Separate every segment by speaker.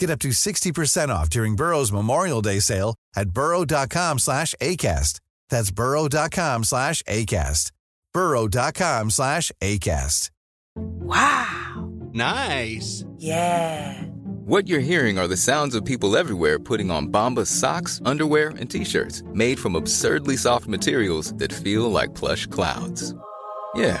Speaker 1: Get up to 60% off during Burrow's Memorial Day sale at burrow.com slash ACAST. That's burrow.com slash ACAST. Burrow.com slash ACAST.
Speaker 2: Wow.
Speaker 3: Nice.
Speaker 2: Yeah.
Speaker 4: What you're hearing are the sounds of people everywhere putting on Bombas socks, underwear, and t shirts made from absurdly soft materials that feel like plush clouds. Yeah,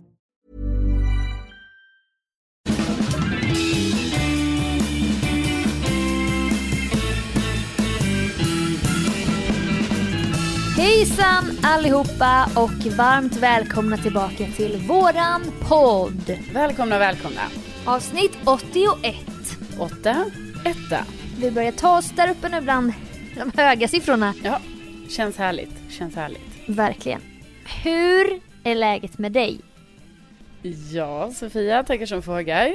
Speaker 5: Hejsan allihopa och varmt välkomna tillbaka till våran podd.
Speaker 6: Välkomna, välkomna.
Speaker 5: Avsnitt 81.
Speaker 6: Åtta, etta.
Speaker 5: Vi börjar ta oss där uppe nu bland de höga siffrorna.
Speaker 6: Ja, känns härligt, känns härligt.
Speaker 5: Verkligen. Hur är läget med dig?
Speaker 6: Ja, Sofia, tackar som frågar.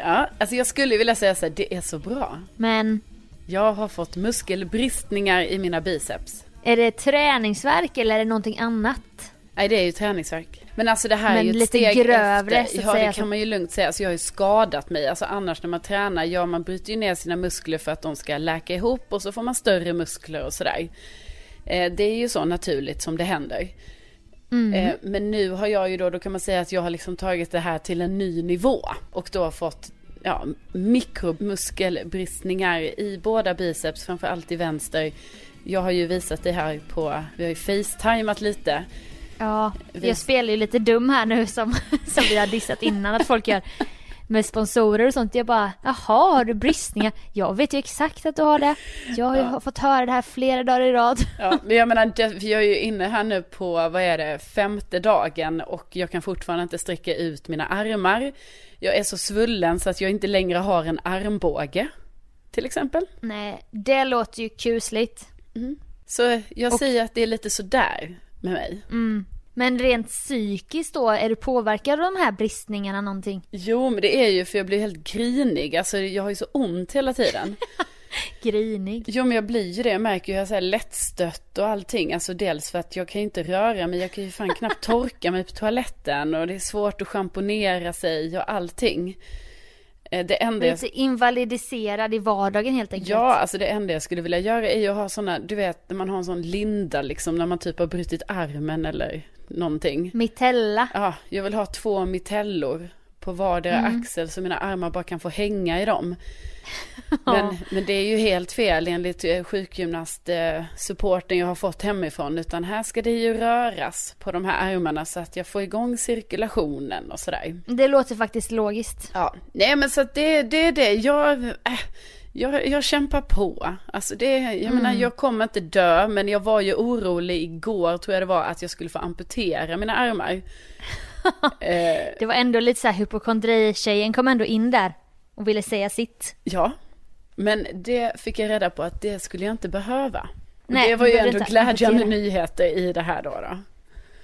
Speaker 6: Ja, alltså jag skulle vilja säga så här, det är så bra.
Speaker 5: Men
Speaker 6: Jag har fått muskelbristningar i mina biceps.
Speaker 5: är det träningsverk eller är det någonting annat?
Speaker 6: Nej, det är ju träningsvärk. Men alltså det här
Speaker 5: Men
Speaker 6: är ju ett
Speaker 5: lite
Speaker 6: steg
Speaker 5: grövre, så
Speaker 6: efter.
Speaker 5: att
Speaker 6: Ja,
Speaker 5: säga.
Speaker 6: det kan man ju lugnt säga. Alltså jag har ju skadat mig. Alltså annars när man tränar, ja man bryter ju ner sina muskler för att de ska läka ihop och så får man större muskler och sådär. Eh, det är ju så naturligt som det händer.
Speaker 5: Mm.
Speaker 6: Eh, men nu har jag ju då, då kan man säga att jag har liksom tagit det här till en ny nivå och då har fått ja, mikromuskelbristningar i båda biceps, framförallt i vänster. Jag har ju visat det här på, vi har ju facetimat lite.
Speaker 5: Ja,
Speaker 6: Vi-
Speaker 5: jag spelar ju lite dum här nu som, som vi har dissat innan att folk gör med sponsorer och sånt. Jag bara, jaha, har du bristningar? Jag vet ju exakt att du har det. Jag har ju fått höra det här flera dagar i rad.
Speaker 6: Ja, men jag menar, det- vi är ju inne här nu på, vad är det, femte dagen och jag kan fortfarande inte sträcka ut mina armar. Jag är så svullen så att jag inte längre har en armbåge, till exempel.
Speaker 5: Nej, det låter ju kusligt.
Speaker 6: Så jag
Speaker 5: Och-
Speaker 6: säger att det är lite sådär med mig.
Speaker 5: Men rent psykiskt då, är du påverkad av de här bristningarna någonting?
Speaker 6: Jo, men det är ju för jag blir helt grinig, alltså jag har ju så ont hela tiden.
Speaker 5: Grinig.
Speaker 6: Jo, men jag blir ju det, jag märker ju hur jag är så här lättstött och allting. Alltså dels för att jag kan ju inte röra mig, jag kan ju fan knappt torka mig på toaletten och det är svårt att schamponera sig och allting. Eh, Det enda
Speaker 5: Du är
Speaker 6: jag
Speaker 5: lite invalidiserad i vardagen helt enkelt.
Speaker 6: Ja, alltså det enda jag skulle vilja göra är ju att ha sådana, du vet, när man har en sån linda liksom, när man typ har brutit armen eller någonting.
Speaker 5: Mm. Mitella.
Speaker 6: Ja, jag vill ha två mitellor på vardera axel så mina armar bara kan få hänga i dem. Men, men det är ju helt fel enligt eh, sjukgymnast-supporten jag har fått hemifrån. Utan här ska det ju röras på de här armarna så att jag får igång cirkulationen och sådär.
Speaker 5: Det låter faktiskt logiskt.
Speaker 6: Ja, nej men så att det, det är det. Jag, äh, jag, jag kämpar på. Alltså det, jag menar
Speaker 5: Mm.
Speaker 6: jag kommer inte dö men jag var ju orolig igår tror jag det var att jag skulle få amputera mina armar. eh,
Speaker 5: Det var ändå lite så här hypokondri-tjejen kom ändå in där och ville säga sitt.
Speaker 6: ja, men det fick jag reda på att det skulle jag inte behöva. Och
Speaker 5: Nej,
Speaker 6: det var
Speaker 5: du
Speaker 6: ju
Speaker 5: behöver
Speaker 6: ändå
Speaker 5: inte
Speaker 6: glädjande
Speaker 5: amputera.
Speaker 6: nyheter i det här då. då.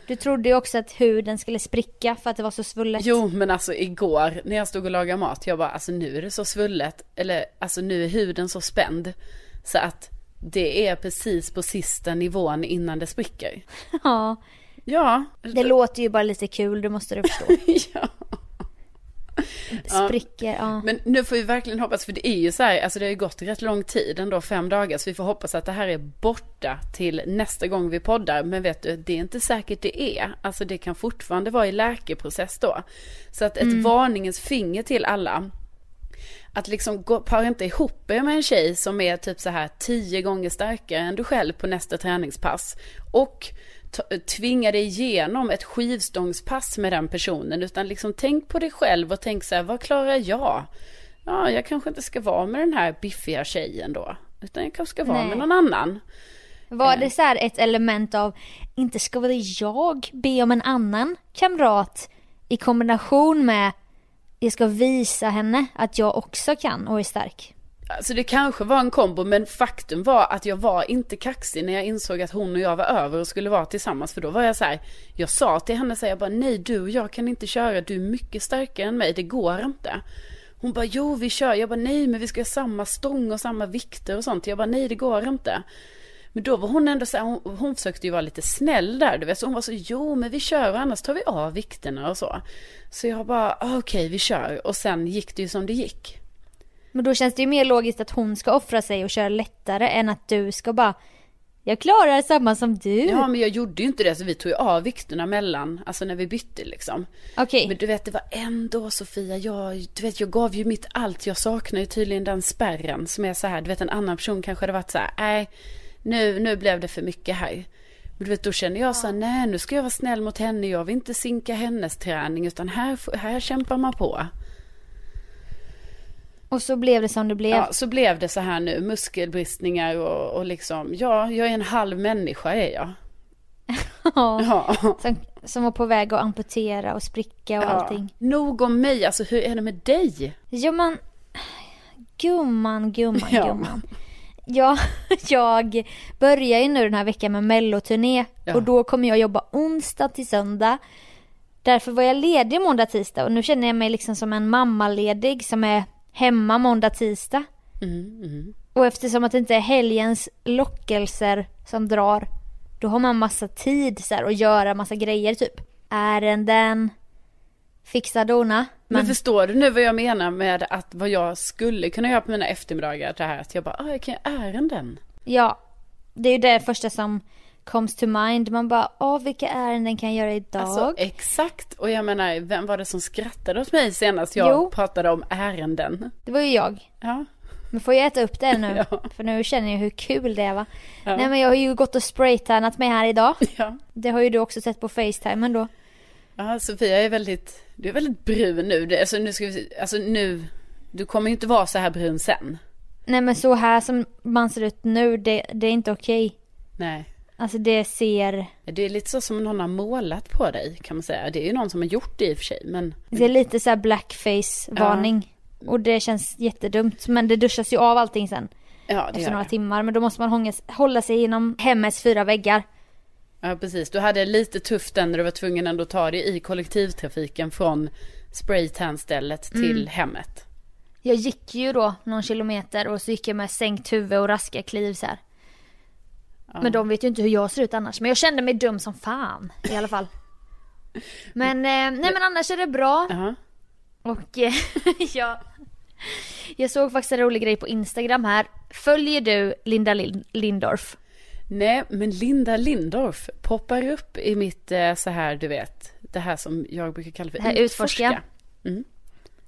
Speaker 5: Du trodde ju också att huden skulle spricka för att det var så svullet.
Speaker 6: Jo men alltså igår när jag stod och lagade mat, jag bara alltså nu är det så svullet, eller alltså nu är huden så spänd. Så att det är precis på sista nivån innan det spricker.
Speaker 5: Ja,
Speaker 6: Ja.
Speaker 5: det låter ju bara lite kul, det måste du förstå.
Speaker 6: ja.
Speaker 5: Spricker, ja.
Speaker 6: Men nu får vi verkligen hoppas, för det är ju så här, alltså det har ju gått rätt lång tid ändå, fem dagar, så vi får hoppas att det här är borta till nästa gång vi poddar. Men vet du, det är inte säkert det är. Alltså det kan fortfarande vara i läkeprocess då. Så att ett varningens finger till alla. Att liksom gå, para inte ihop er med en tjej som är typ så här tio gånger starkare än du själv på nästa träningspass. Och t- tvinga dig igenom ett skivstångspass med den personen. Utan liksom tänk på dig själv och tänk så här, vad klarar jag? Ja, jag kanske inte ska vara med den här biffiga tjejen då. Utan jag kanske ska vara
Speaker 5: Nej.
Speaker 6: med någon annan.
Speaker 5: Var
Speaker 6: Eh.
Speaker 5: det så här ett element av, inte ska väl jag be om en annan kamrat i kombination med, jag ska visa henne att jag också kan och är stark.
Speaker 6: Alltså det kanske var en kombo men faktum var att jag var inte kaxig när jag insåg att hon och jag var över och skulle vara tillsammans för då var jag så här, jag sa till henne så här, jag bara nej du och jag kan inte köra, du är mycket starkare än mig, det går inte. Hon bara jo vi kör, jag bara nej men vi ska ha samma stång och samma vikter och sånt, jag bara nej det går inte. Men då var hon ändå så här, hon, hon försökte ju vara lite snäll där, du vet. Så hon var så, jo men vi kör och annars tar vi av vikterna och så. Så jag bara, ah, okej vi kör. Och sen gick det ju som det gick.
Speaker 5: Men då känns det ju mer logiskt att hon ska offra sig och köra lättare än att du ska bara, jag klarar samma som du.
Speaker 6: Ja men jag gjorde ju inte det så vi tog ju av vikterna mellan, alltså när vi bytte liksom.
Speaker 5: Okej.
Speaker 6: Men du vet det var ändå Sofia, jag, du vet jag gav ju mitt allt, jag saknar ju tydligen den spärren som är så här, du vet en annan person kanske hade varit så här, nej nu, nu blev det för mycket här. Men du vet då känner jag så här, nej nu ska jag vara snäll mot henne, jag vill inte sinka hennes träning utan här, får- här kämpar man på.
Speaker 5: Och så blev det som det blev.
Speaker 6: Ja, så blev det så här nu, muskelbristningar och, och liksom, ja jag är en halv människa är jag. Ja.
Speaker 5: Som, som var på väg att amputera och spricka och allting.
Speaker 6: Nog om mig, alltså hur är det med dig?
Speaker 5: Ja men, gumman, gumman,
Speaker 6: Ja.
Speaker 5: gumman. Ja, jag börjar ju nu den här veckan med melloturné
Speaker 6: Ja.
Speaker 5: och då kommer jag jobba onsdag till söndag. Därför var jag ledig måndag, tisdag och nu känner jag mig liksom som en mammaledig som är hemma måndag, tisdag.
Speaker 6: Mm,
Speaker 5: Och eftersom att det inte är helgens lockelser som drar, då har man massa tid så här, att göra massa grejer typ. Ärenden, fixa dona.
Speaker 6: Men, förstår du nu vad jag menar med att vad jag skulle kunna göra på mina eftermiddagar det här att jag bara, ah, jag kan göra ärenden.
Speaker 5: Ja, det är ju det första som comes to mind. Man bara, åh vilka ärenden kan jag göra idag?
Speaker 6: Alltså exakt, och jag menar, vem var det som skrattade åt mig senast jag
Speaker 5: Jo.
Speaker 6: pratade om ärenden?
Speaker 5: Det var ju jag.
Speaker 6: Ja,
Speaker 5: Men får jag äta upp det nu?
Speaker 6: Ja.
Speaker 5: För nu känner jag hur kul det är va? Nej men jag har ju gått och spraytannat mig här idag.
Speaker 6: ja.
Speaker 5: Det har ju du också sett på facetimen då.
Speaker 6: ja Sofia är väldigt, du är väldigt brun nu. Det- Alltså nu ska vi, se- alltså nu, du kommer ju inte vara så här brun sen.
Speaker 5: Nej men så här som man ser ut nu, det, det är inte okej.
Speaker 6: Nej.
Speaker 5: Alltså det ser,
Speaker 6: Det är lite så som någon har målat på dig kan man säga. Det är ju någon som har gjort det i och för sig men
Speaker 5: det är lite så här blackface-varning. Och det känns jättedumt. Men det duschas ju av allting sen.
Speaker 6: ja, det
Speaker 5: Efter
Speaker 6: gör
Speaker 5: några
Speaker 6: det.
Speaker 5: timmar. Men då måste man hånga, hålla sig inom hemmets fyra väggar.
Speaker 6: Ja precis, du hade lite tufft den när du var tvungen ändå att ta dig i kollektivtrafiken från spraytanstället
Speaker 5: Mm.
Speaker 6: till hemmet.
Speaker 5: Jag gick ju då någon kilometer och så gick jag med sänkt huvud och raska kliv så här. Men de vet ju inte hur jag ser ut annars. Men jag kände mig dum som fan i alla fall. Men, eh, nej men annars är det bra.
Speaker 6: Ja,
Speaker 5: Och eh, jag, jag såg faktiskt en rolig grej på Instagram här. Följer du Linda Lind- Lindorff?
Speaker 6: Nej, men Linda Lindorff poppar upp i mitt eh, så här, du vet, det här som jag brukar kalla för
Speaker 5: Det här utforska.
Speaker 6: Mm.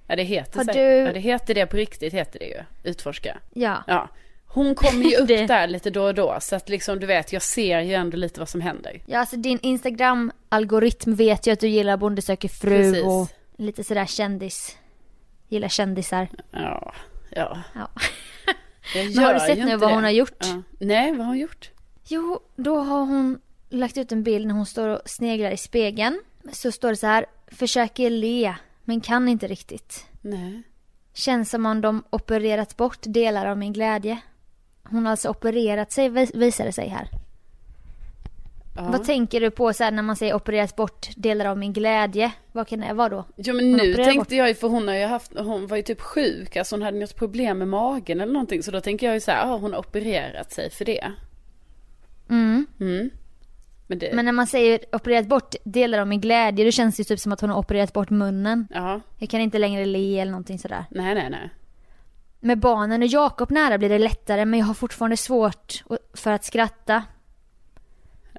Speaker 6: Ja, det heter
Speaker 5: Har
Speaker 6: så-
Speaker 5: du-
Speaker 6: ja, det heter det på riktigt, heter det ju, utforska.
Speaker 5: Ja.
Speaker 6: Ja, hon kommer ju upp
Speaker 5: Det-
Speaker 6: där lite då och då, så att liksom du vet, jag ser ju ändå lite vad som händer.
Speaker 5: Ja, alltså din Instagram-algoritm vet ju att du gillar Bonde söker fru
Speaker 6: Precis.
Speaker 5: och lite sådär kändis. Gillar kändisar.
Speaker 6: Ja, ja.
Speaker 5: Ja.
Speaker 6: Jag
Speaker 5: Men har du
Speaker 6: gör
Speaker 5: sett
Speaker 6: ju
Speaker 5: nu
Speaker 6: inte
Speaker 5: vad
Speaker 6: det.
Speaker 5: hon har gjort?
Speaker 6: Ja. Nej, vad har hon gjort?
Speaker 5: Jo, då har hon lagt ut en bild när hon står och sneglar i spegeln. Så står det så här, försöker le, men kan inte riktigt.
Speaker 6: Nej.
Speaker 5: Känns som om de opererat bort delar av min glädje. Hon har alltså opererat sig, vis- visar det sig här. Vad tänker du på så här när man säger opererat bort delar av min glädje? Vad kan det vara då?
Speaker 6: Ja men
Speaker 5: Hon
Speaker 6: nu
Speaker 5: opererar bort-
Speaker 6: tänkte jag ju för hon har ju haft, hon var ju typ sjuk, alltså hon hade något problem med magen eller någonting så då tänker jag ju så här, ah, hon har opererat sig för det. Men det,
Speaker 5: Mm. Men när man säger opererat bort delar av min glädje, då känns det ju typ som att hon har opererat bort munnen.
Speaker 6: ja,
Speaker 5: Jag kan inte längre le eller någonting sådär.
Speaker 6: nej, nej, nej.
Speaker 5: Med barnen och Jakob nära blir det lättare men jag har fortfarande svårt å- för att skratta.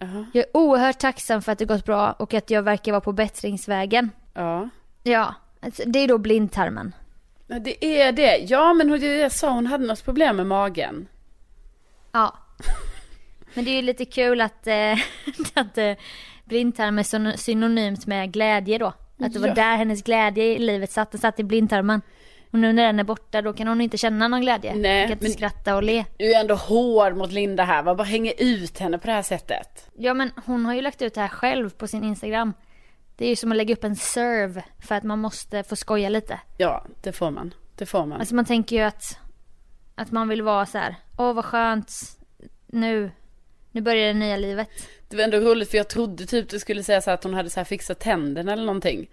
Speaker 6: Jaha.
Speaker 5: Jag är oerhört tacksam för att det gått bra och att jag verkar vara på bättringsvägen.
Speaker 6: Ja.
Speaker 5: Ja, alltså, det är då blindtarmen.
Speaker 6: Ja, det är det. Ja, men hon, jag sa hon hade något problem med magen.
Speaker 5: Ja. Men det är ju lite kul att, eh, att eh, blindtarmen är syn- synonymt med glädje då. Att det var
Speaker 6: Ja.
Speaker 5: där hennes glädje i livet satt, den satt i blindtarmen. Och nu när den är borta då kan hon inte känna någon glädje.
Speaker 6: Nej,
Speaker 5: hon kan inte
Speaker 6: men-
Speaker 5: skratta och le.
Speaker 6: Du är ändå hård mot Linda här. Man bara hänger ut henne på det här sättet.
Speaker 5: Ja men hon har ju lagt ut det här själv på sin Instagram. Det är ju som att lägga upp en serve för att man måste få skoja lite.
Speaker 6: Ja, det får man. Det får man.
Speaker 5: Alltså man tänker ju att, att man vill vara så här. åh vad skönt, nu, nu börjar det nya livet.
Speaker 6: Det var ändå roligt för jag trodde typ du skulle säga så här att hon hade så här fixat tänderna eller någonting.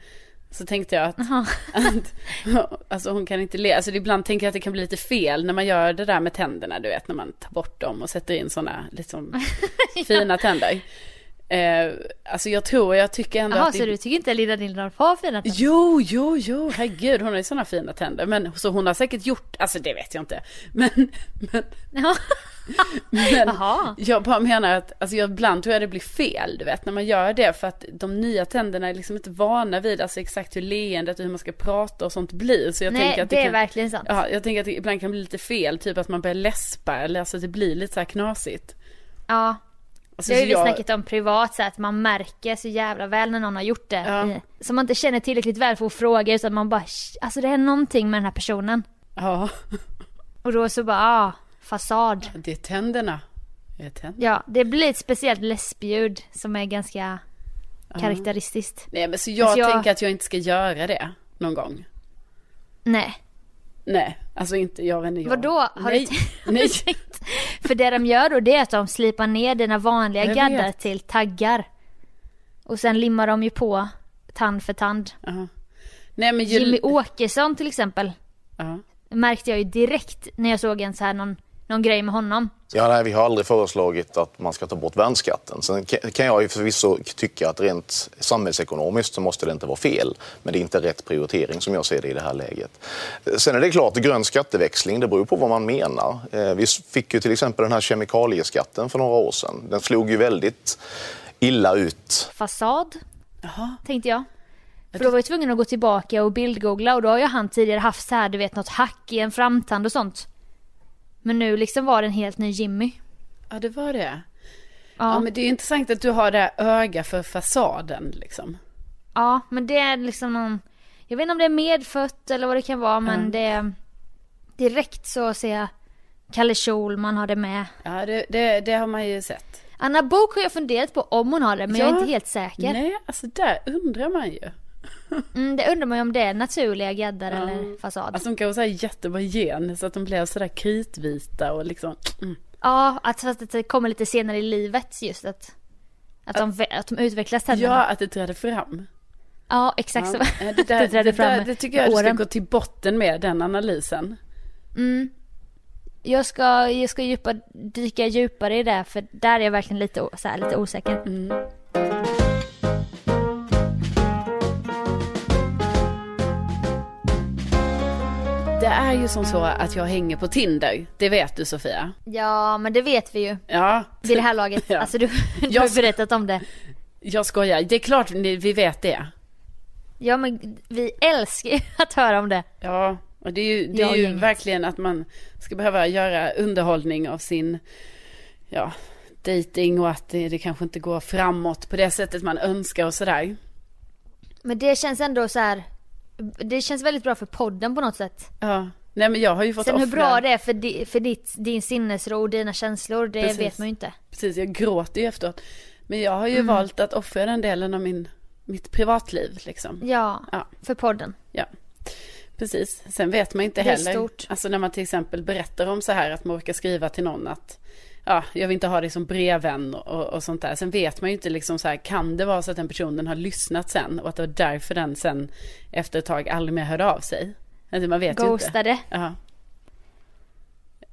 Speaker 6: Så tänkte jag att,
Speaker 5: Jaha.
Speaker 6: att alltså hon kan inte le. Alltså ibland tänker jag att det kan bli lite fel när man gör det där med tänderna, du vet när man tar bort dem och sätter in sådana liksom fina tänder. Eh, alltså jag tror, jag tycker ändå
Speaker 5: Jaha,
Speaker 6: att... det-
Speaker 5: så du tycker inte Linda Lindorff har fina tänder?
Speaker 6: Jo, jo, jo, herregud, hon har ju sådana fina tänder. Men så hon har säkert gjort, alltså det vet jag inte. Men, men,
Speaker 5: Ja.
Speaker 6: men
Speaker 5: Jaha.
Speaker 6: jag bara menar att, alltså jag, ibland tror jag det blir fel, du vet, när man gör det. För att de nya tänderna är liksom inte vana vid, alltså exakt hur leendet och hur man ska prata och sånt blir. Så jag
Speaker 5: Nej,
Speaker 6: tänker
Speaker 5: det,
Speaker 6: att det,
Speaker 5: är
Speaker 6: kan,
Speaker 5: verkligen sant. Ja.
Speaker 6: Ja, jag tänker att det ibland kan bli lite fel, typ att man börjar läspa eller alltså att det blir lite så här knasigt. Alltså,
Speaker 5: Det har ju
Speaker 6: så
Speaker 5: vi
Speaker 6: jag-
Speaker 5: snackat om privat, så här, att man märker så jävla väl när någon har gjort det.
Speaker 6: Ja.
Speaker 5: i- Som man inte känner tillräckligt väl för att fråga, utan man bara "Sh, alltså det är någonting med den här personen.
Speaker 6: Ja,
Speaker 5: Och då så bara, ah, fasad.
Speaker 6: det är tänderna. Det är tänderna.
Speaker 5: Ja, det blir ett speciellt läspljud som är ganska karaktäristiskt.
Speaker 6: Nej, men så jag,
Speaker 5: Alltså, jag-
Speaker 6: tänker att jag inte ska göra det någon gång.
Speaker 5: Nej,
Speaker 6: Nej, alltså inte, jag vet inte. Jag...
Speaker 5: Vadå? Har du
Speaker 6: nej,
Speaker 5: tänkt-
Speaker 6: nej.
Speaker 5: för det de gör då det är att de slipar ner dina vanliga
Speaker 6: Jag
Speaker 5: gaddar
Speaker 6: vet.
Speaker 5: till taggar. Och sen limmar de ju på tand för tand.
Speaker 6: Ja. nej, men ju...
Speaker 5: Jimmy Åkesson till exempel.
Speaker 6: Ja.
Speaker 5: märkte jag ju direkt när jag såg en så här någon, någon grej med honom.
Speaker 3: Ja, nej, vi har aldrig föreslagit att man ska ta bort värnskatten. Sen ka- kan jag ju förvisso tycka att rent samhällsekonomiskt så måste det inte vara fel. Men det är inte rätt prioritering som jag ser det i det här läget. Eh, Sen är det klart, grön skatteväxling, det beror på vad man menar. Eh, Vi s- fick ju till exempel den här kemikalieskatten för några år sedan. Den slog ju väldigt illa ut
Speaker 5: Fasad, tänkte jag. För då var jag tvungen att gå tillbaka och bildgoogla och då har ju han tidigare haft så här, du vet något hack i en framtand och sånt. Men nu liksom var det en helt ny Jimmy.
Speaker 6: ja, det var det. Ja.
Speaker 5: Ja,
Speaker 6: men det är ju intressant att du har det här öga för fasaden liksom.
Speaker 5: ja, men det är liksom någon, jag vet inte om det är medfött eller vad det kan vara men det, direkt så ser jag Kalle Schulman har det med.
Speaker 6: Ja, det, det, det har man ju sett.
Speaker 5: Anna Bok har jag funderat på om hon har det men jag är
Speaker 6: Ja.
Speaker 5: inte helt säker.
Speaker 6: Nej, alltså där undrar man ju.
Speaker 5: Mm, det undrar man ju om det är naturliga gaddar eller fasad.
Speaker 6: Alltså de kan vara så här jättebra gen så att de blev sådär kritvita och liksom. Mm.
Speaker 5: Ja, att, fast att det kommer lite senare i livet just att, att, de, vä- att de utvecklas tänderna.
Speaker 6: Ja,
Speaker 5: Ja,
Speaker 6: att det trädde fram.
Speaker 5: exakt så.
Speaker 6: Ja, det, där,
Speaker 5: det
Speaker 6: det,
Speaker 5: trädde fram
Speaker 6: där,
Speaker 5: med-
Speaker 6: det tycker jag
Speaker 5: med
Speaker 6: du ska
Speaker 5: åren.
Speaker 6: gå till botten med, den analysen.
Speaker 5: Jag ska, jag ska djupa, dyka djupare i det för där är jag verkligen lite, o- så här, lite osäker.
Speaker 6: Mm. Det är ju som så att jag hänger på Tinder, det vet du Sofia.
Speaker 5: Ja, men det vet vi ju
Speaker 6: Ja,
Speaker 5: vid det här laget.
Speaker 6: Ja.
Speaker 5: Alltså du, du
Speaker 6: Jag
Speaker 5: har
Speaker 6: ska-
Speaker 5: berättat om det.
Speaker 6: jag skojar. Det är klart ni- vi vet det.
Speaker 5: Ja, men vi älskar ju att höra om det.
Speaker 6: Ja, och det är ju, det
Speaker 5: Ja,
Speaker 6: är ju
Speaker 5: gänget.
Speaker 6: verkligen att man ska behöva göra underhållning av sin, ja, dating och att det, det kanske inte går framåt på det sättet man önskar och sådär.
Speaker 5: Men det känns ändå så här. Det känns väldigt bra för podden på något sätt.
Speaker 6: Ja, nej men jag har ju fått
Speaker 5: Sen hur
Speaker 6: offra-
Speaker 5: bra det är för, di, för ditt, din sinnesro och dina känslor, det
Speaker 6: Precis.
Speaker 5: vet man ju inte.
Speaker 6: Precis, jag gråter ju efteråt. Men jag har ju
Speaker 5: Mm.
Speaker 6: valt att offra den delen av min, mitt privatliv liksom.
Speaker 5: Ja,
Speaker 6: Ja.
Speaker 5: för podden.
Speaker 6: Ja, precis. Sen vet man inte
Speaker 5: Det är
Speaker 6: heller.
Speaker 5: stort.
Speaker 6: Alltså när man till exempel berättar om så här att man orkar skriva till någon att ja, jag vill inte ha dig som brevvän och, och sånt där. Sen vet man ju inte liksom så här, kan det vara så att den personen har lyssnat sen och att det var därför den sen efter ett tag aldrig mer hörde av sig? Alltså man vet ju inte.
Speaker 5: Ghostade.
Speaker 6: Ja,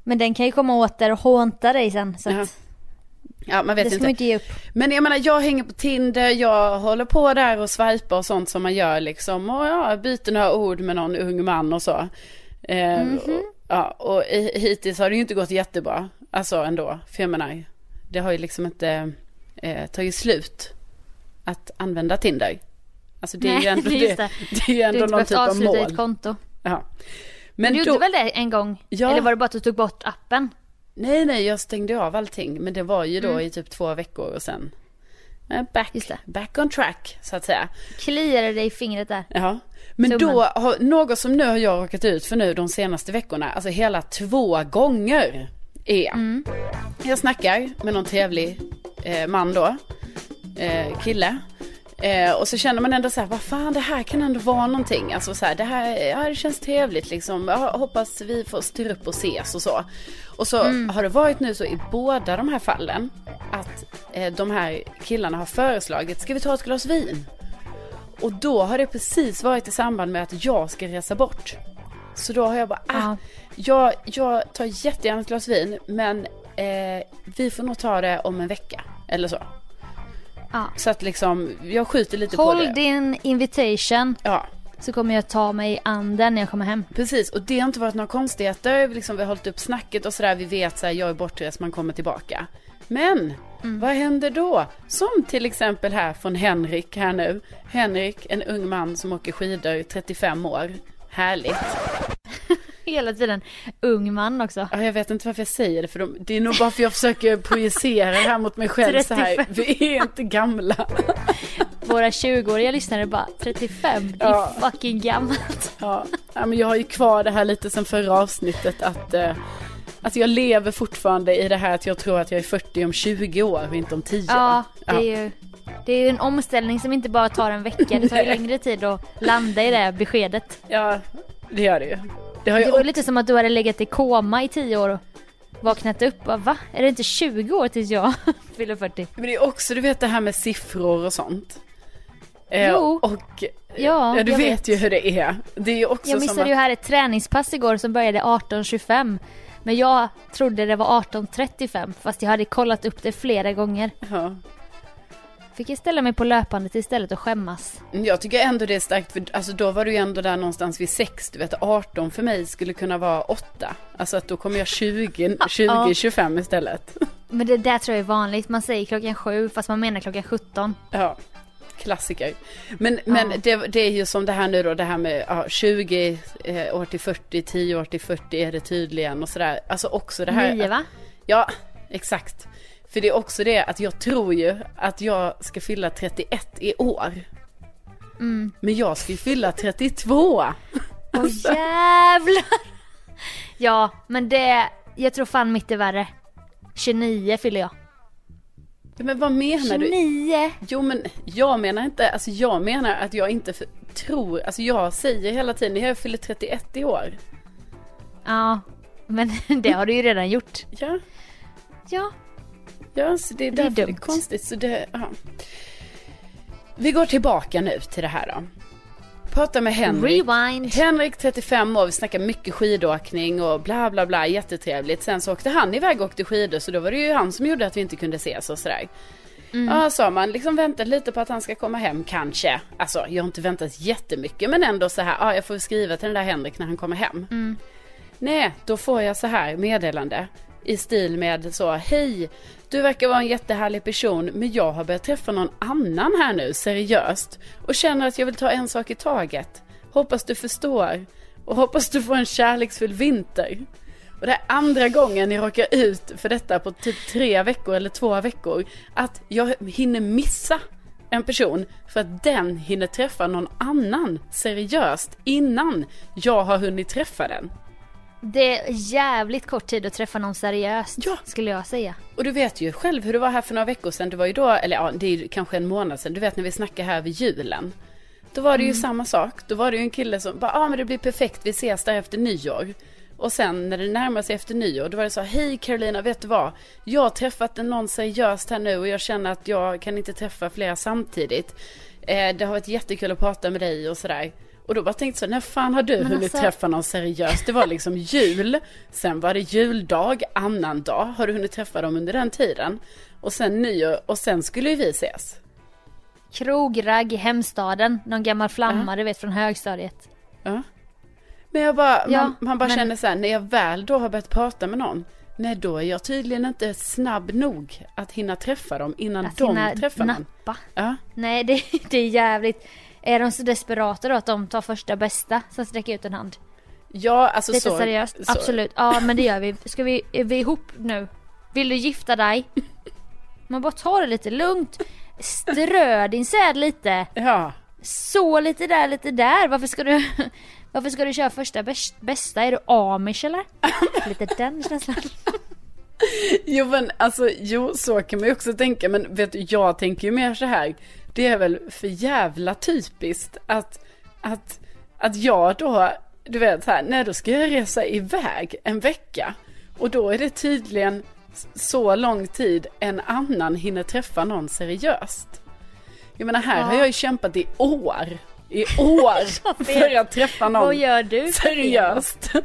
Speaker 5: Men den kan ju komma åter och hånta dig sen. Så att,
Speaker 6: Ja. Ja, man vet
Speaker 5: Det ska
Speaker 6: inte.
Speaker 5: man inte ge upp.
Speaker 6: Men jag menar, jag hänger på Tinder, jag håller på där och swipar och sånt som man gör liksom. Och ja, byter några ord med någon ung man och så. Eh,
Speaker 5: Mhm.
Speaker 6: och, ja, och i- hittills har det ju inte gått jättebra. Alltså ändå, för jag menar, det har ju liksom inte eh, tagit slut att använda Tinder. Alltså det är
Speaker 5: Nej,
Speaker 6: ju ändå,
Speaker 5: just
Speaker 6: det,
Speaker 5: det.
Speaker 6: det
Speaker 5: Du
Speaker 6: är ju ändå
Speaker 5: har inte
Speaker 6: någon
Speaker 5: behövt
Speaker 6: typ av
Speaker 5: avsluta
Speaker 6: mål.
Speaker 5: ditt konto.
Speaker 6: Ja.
Speaker 5: Men
Speaker 6: Men
Speaker 5: du
Speaker 6: då,
Speaker 5: gjorde väl det en gång?
Speaker 6: Ja.
Speaker 5: Eller var det bara att du tog bort appen?
Speaker 6: Nej, nej, jag stängde av allting. Men det var ju då i typ två veckor och sen eh,
Speaker 5: Mm.
Speaker 6: back,
Speaker 5: Just det.
Speaker 6: back on track, så att säga.
Speaker 5: Kliade dig i fingret där.
Speaker 6: Ja. Men
Speaker 5: Summan.
Speaker 6: då, har, något som nu har jag råkat ut för nu de senaste veckorna, alltså hela två gånger är. Jag snackar med någon trevlig eh, man då, eh, kille. Eh, och så känner man ändå så här, vad fan det här kan ändå vara någonting. Alltså så här, det här ja, det känns trevligt liksom. Jag hoppas vi får styra upp och ses och så. Och så har det varit nu så i båda de här fallen att eh, de här killarna har föreslagit, ska vi ta ett glas vin? Och då har det precis varit i samband med att jag ska resa bort. Så då har jag bara, ah,
Speaker 5: Ja.
Speaker 6: jag, jag tar jättegärna ett glas vin men eh, vi får nog ta det om en vecka eller så.
Speaker 5: Ja.
Speaker 6: Så att liksom, jag skjuter lite på det.
Speaker 5: Håll din invitation
Speaker 6: Ja,
Speaker 5: så kommer jag ta mig an den när jag kommer hem.
Speaker 6: precis. Och det har inte varit några konstigheter. Vi Liksom, vi har hållit upp snacket och sådär. Vi vet såhär, jag är bortrest, man kommer tillbaka. Men, vad händer då? Som till exempel här från Henrik här nu. Henrik, en ung man som åker skidor, 35 år. Härligt.
Speaker 5: Hela tiden ung man också.
Speaker 6: Ja, jag vet inte varför jag säger det, för de, det är nog bara för jag försöker projicera det här mot mig själv så här.
Speaker 5: 35.
Speaker 6: Vi är inte gamla.
Speaker 5: Våra 20-åriga lyssnare bara 35, det är
Speaker 6: Ja.
Speaker 5: fucking gammalt.
Speaker 6: Ja, ja, men jag har ju kvar det här lite sen förra avsnittet att eh, alltså jag lever fortfarande i det här att jag tror att jag är 40 om 20 år och inte om 10.
Speaker 5: Ja, det
Speaker 6: Ja.
Speaker 5: är ju det är ju en omställning som inte bara tar en vecka. Det tar ju längre tid att landa i det här beskedet.
Speaker 6: ja, det gör det ju. Det har
Speaker 5: Det
Speaker 6: jag
Speaker 5: var ju lite som att du hade legat i koma i 10 år och vaknat upp. Bara, Va? Är det inte 20 år tills jag fyller 40?
Speaker 6: Men det är också, du vet det här med siffror och sånt. Eh,
Speaker 5: Jo.
Speaker 6: Och
Speaker 5: Ja,
Speaker 6: ja, du
Speaker 5: jag
Speaker 6: vet,
Speaker 5: vet.
Speaker 6: ju hur det är. Det är ju också
Speaker 5: Jag
Speaker 6: som att,
Speaker 5: missade ju här ett träningspass igår som började 18.25. Men jag trodde det var 18.35 fast jag hade kollat upp det flera gånger.
Speaker 6: ja.
Speaker 5: Fick jag ställa mig på löpandet istället och skämmas.
Speaker 6: Mm, Jag tycker ändå det är starkt, för alltså, då var du ju ändå där någonstans vid 6, du vet 18 för mig skulle kunna vara 8. Alltså att då kommer jag 20, 20 25 istället.
Speaker 5: Men det där tror jag är vanligt. Man säger klockan 7 fast man menar klockan 17.
Speaker 6: Ja, klassiker. Men, men det, det är ju som det här nu då, det här med ja, 20 eh, år till 40, 10 år till 40 är det tydligen och sådär. Alltså också det här.
Speaker 5: 9 va?
Speaker 6: Ja, exakt. För det är också det att jag tror ju att jag ska fylla 31 i år. Men jag ska ju fylla 32.
Speaker 5: Åh jävlar! Ja, men det... Jag tror fan mitt är värre. 29 fyller jag.
Speaker 6: Ja, Men vad menar du?
Speaker 5: 29!
Speaker 6: Jo men jag menar inte, alltså jag menar att jag inte f- tror, alltså jag säger hela tiden, jag fyller 31 i år.
Speaker 5: Ja, men det har du ju redan gjort.
Speaker 6: Ja,
Speaker 5: Ja,
Speaker 6: ja så det är
Speaker 5: Det är
Speaker 6: därför det är,
Speaker 5: dumt.
Speaker 6: konstigt. Så det, ja. Vi går tillbaka nu till det här då. Prata med
Speaker 5: Mm.
Speaker 6: Henrik.
Speaker 5: rewind.
Speaker 6: Henrik 35 år, vi snackar mycket skidåkning och bla bla bla, jättetrevligt. Sen så åkte han iväg och åkte skidor så då var det ju han som gjorde att vi inte kunde ses och sådär.
Speaker 5: Mm.
Speaker 6: Ja sa man, liksom väntat lite på att han ska komma hem kanske. Alltså jag har inte väntat jättemycket men ändå så här, ja jag får skriva till den där Henrik när han kommer hem. Nej, då får jag så här meddelande i stil med så, hej, du verkar vara en jättehärlig person men jag har börjat träffa någon annan här nu seriöst och känner att jag vill ta en sak i taget. Hoppas du förstår och hoppas du får en kärleksfull vinter. Och det är andra gången jag råkar ut för detta på typ tre veckor eller två veckor. Att jag hinner missa en person för att den hinner träffa någon annan seriöst innan jag har hunnit träffa den.
Speaker 5: Det är jävligt kort tid att träffa någon seriöst
Speaker 6: Ja.
Speaker 5: skulle jag säga.
Speaker 6: Och du vet ju själv hur det var här för några veckor sedan. Du var ju då, eller ja, det är ju kanske en månad sedan. Du vet när vi snackade här vid julen. Då var det
Speaker 5: Mm.
Speaker 6: ju samma sak. Då var det ju en kille som bara, ja ah, men det blir perfekt, vi ses där efter nyår. Och sen när det närmar sig efter nyår, då var det så, hej Carolina, vet du vad? Jag har träffat någon seriöst här nu och jag känner att jag kan inte träffa flera samtidigt. Eh, det har varit jättekul att prata med dig och sådär. Och då bara tänkte jag, när fan har du
Speaker 5: Men
Speaker 6: hunnit
Speaker 5: alltså-
Speaker 6: träffa någon seriös? Det var liksom jul, sen var det juldag, annan dag. Har du hunnit träffa dem under den tiden? Och sen nyår, och sen skulle ju vi ses.
Speaker 5: Krogragg i hemstaden. Någon gammal flamma du vet från högstadiet.
Speaker 6: Ja. Men jag bara,
Speaker 5: Ja,
Speaker 6: man, man bara
Speaker 5: men-
Speaker 6: känner så här, när jag väl då har börjat prata med någon, nej då är jag tydligen inte snabb nog att hinna träffa dem innan
Speaker 5: Att
Speaker 6: de
Speaker 5: hinna
Speaker 6: träffar någon.
Speaker 5: Alltså, nappa.
Speaker 6: Ja.
Speaker 5: Nej det, det är jävligt. Är de så desperata då att de tar första bästa som sträcker ut en hand?
Speaker 6: ja, alltså
Speaker 5: Lite
Speaker 6: så.
Speaker 5: seriöst?
Speaker 6: så-
Speaker 5: Absolut. Ja men det gör vi. Ska vi, är vi ihop nu? Vill du gifta dig? Man bara tar det lite lugnt. Strö din säd lite.
Speaker 6: Ja.
Speaker 5: Så lite där, lite där. Varför ska du, varför ska du köra första bäst- bästa? Är du amish eller? Lite den känslan.
Speaker 6: Jo men alltså, jo så kan man ju också tänka, men vet du, jag tänker ju mer så här, det är väl för jävla typiskt att, att, att jag då, du vet så här, nej då ska jag resa iväg en vecka och då är det tydligen s- så lång tid en annan hinner träffa någon seriöst. Jag menar här har jag ju kämpat i år, i år för att träffa någon
Speaker 5: Vad gör du?
Speaker 6: seriöst.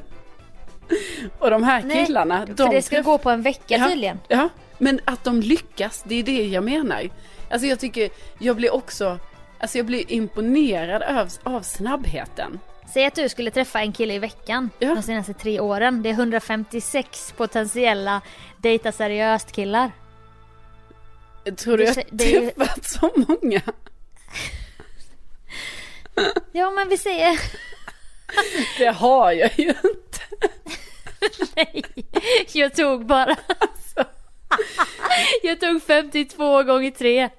Speaker 6: Och de här
Speaker 5: Nej,
Speaker 6: killarna,
Speaker 5: för
Speaker 6: de
Speaker 5: det ska
Speaker 6: träff-
Speaker 5: gå på en vecka
Speaker 6: Ja,
Speaker 5: tydligen.
Speaker 6: Ja, men att de lyckas, det är det jag menar. Alltså jag tycker, jag blir också, alltså jag blir imponerad av, av snabbheten.
Speaker 5: Säg att du skulle träffa en kille i veckan
Speaker 6: Ja.
Speaker 5: de senaste tre åren. Det är 156 potentiella dejta seriöst killar.
Speaker 6: Tror
Speaker 5: Det
Speaker 6: du jag
Speaker 5: sä- det är ju-
Speaker 6: träffat så många?
Speaker 5: Ja men vi säger
Speaker 6: Det har jag ju inte.
Speaker 5: nej. Jag tog bara. alltså. Jag tog 52 gånger 3 och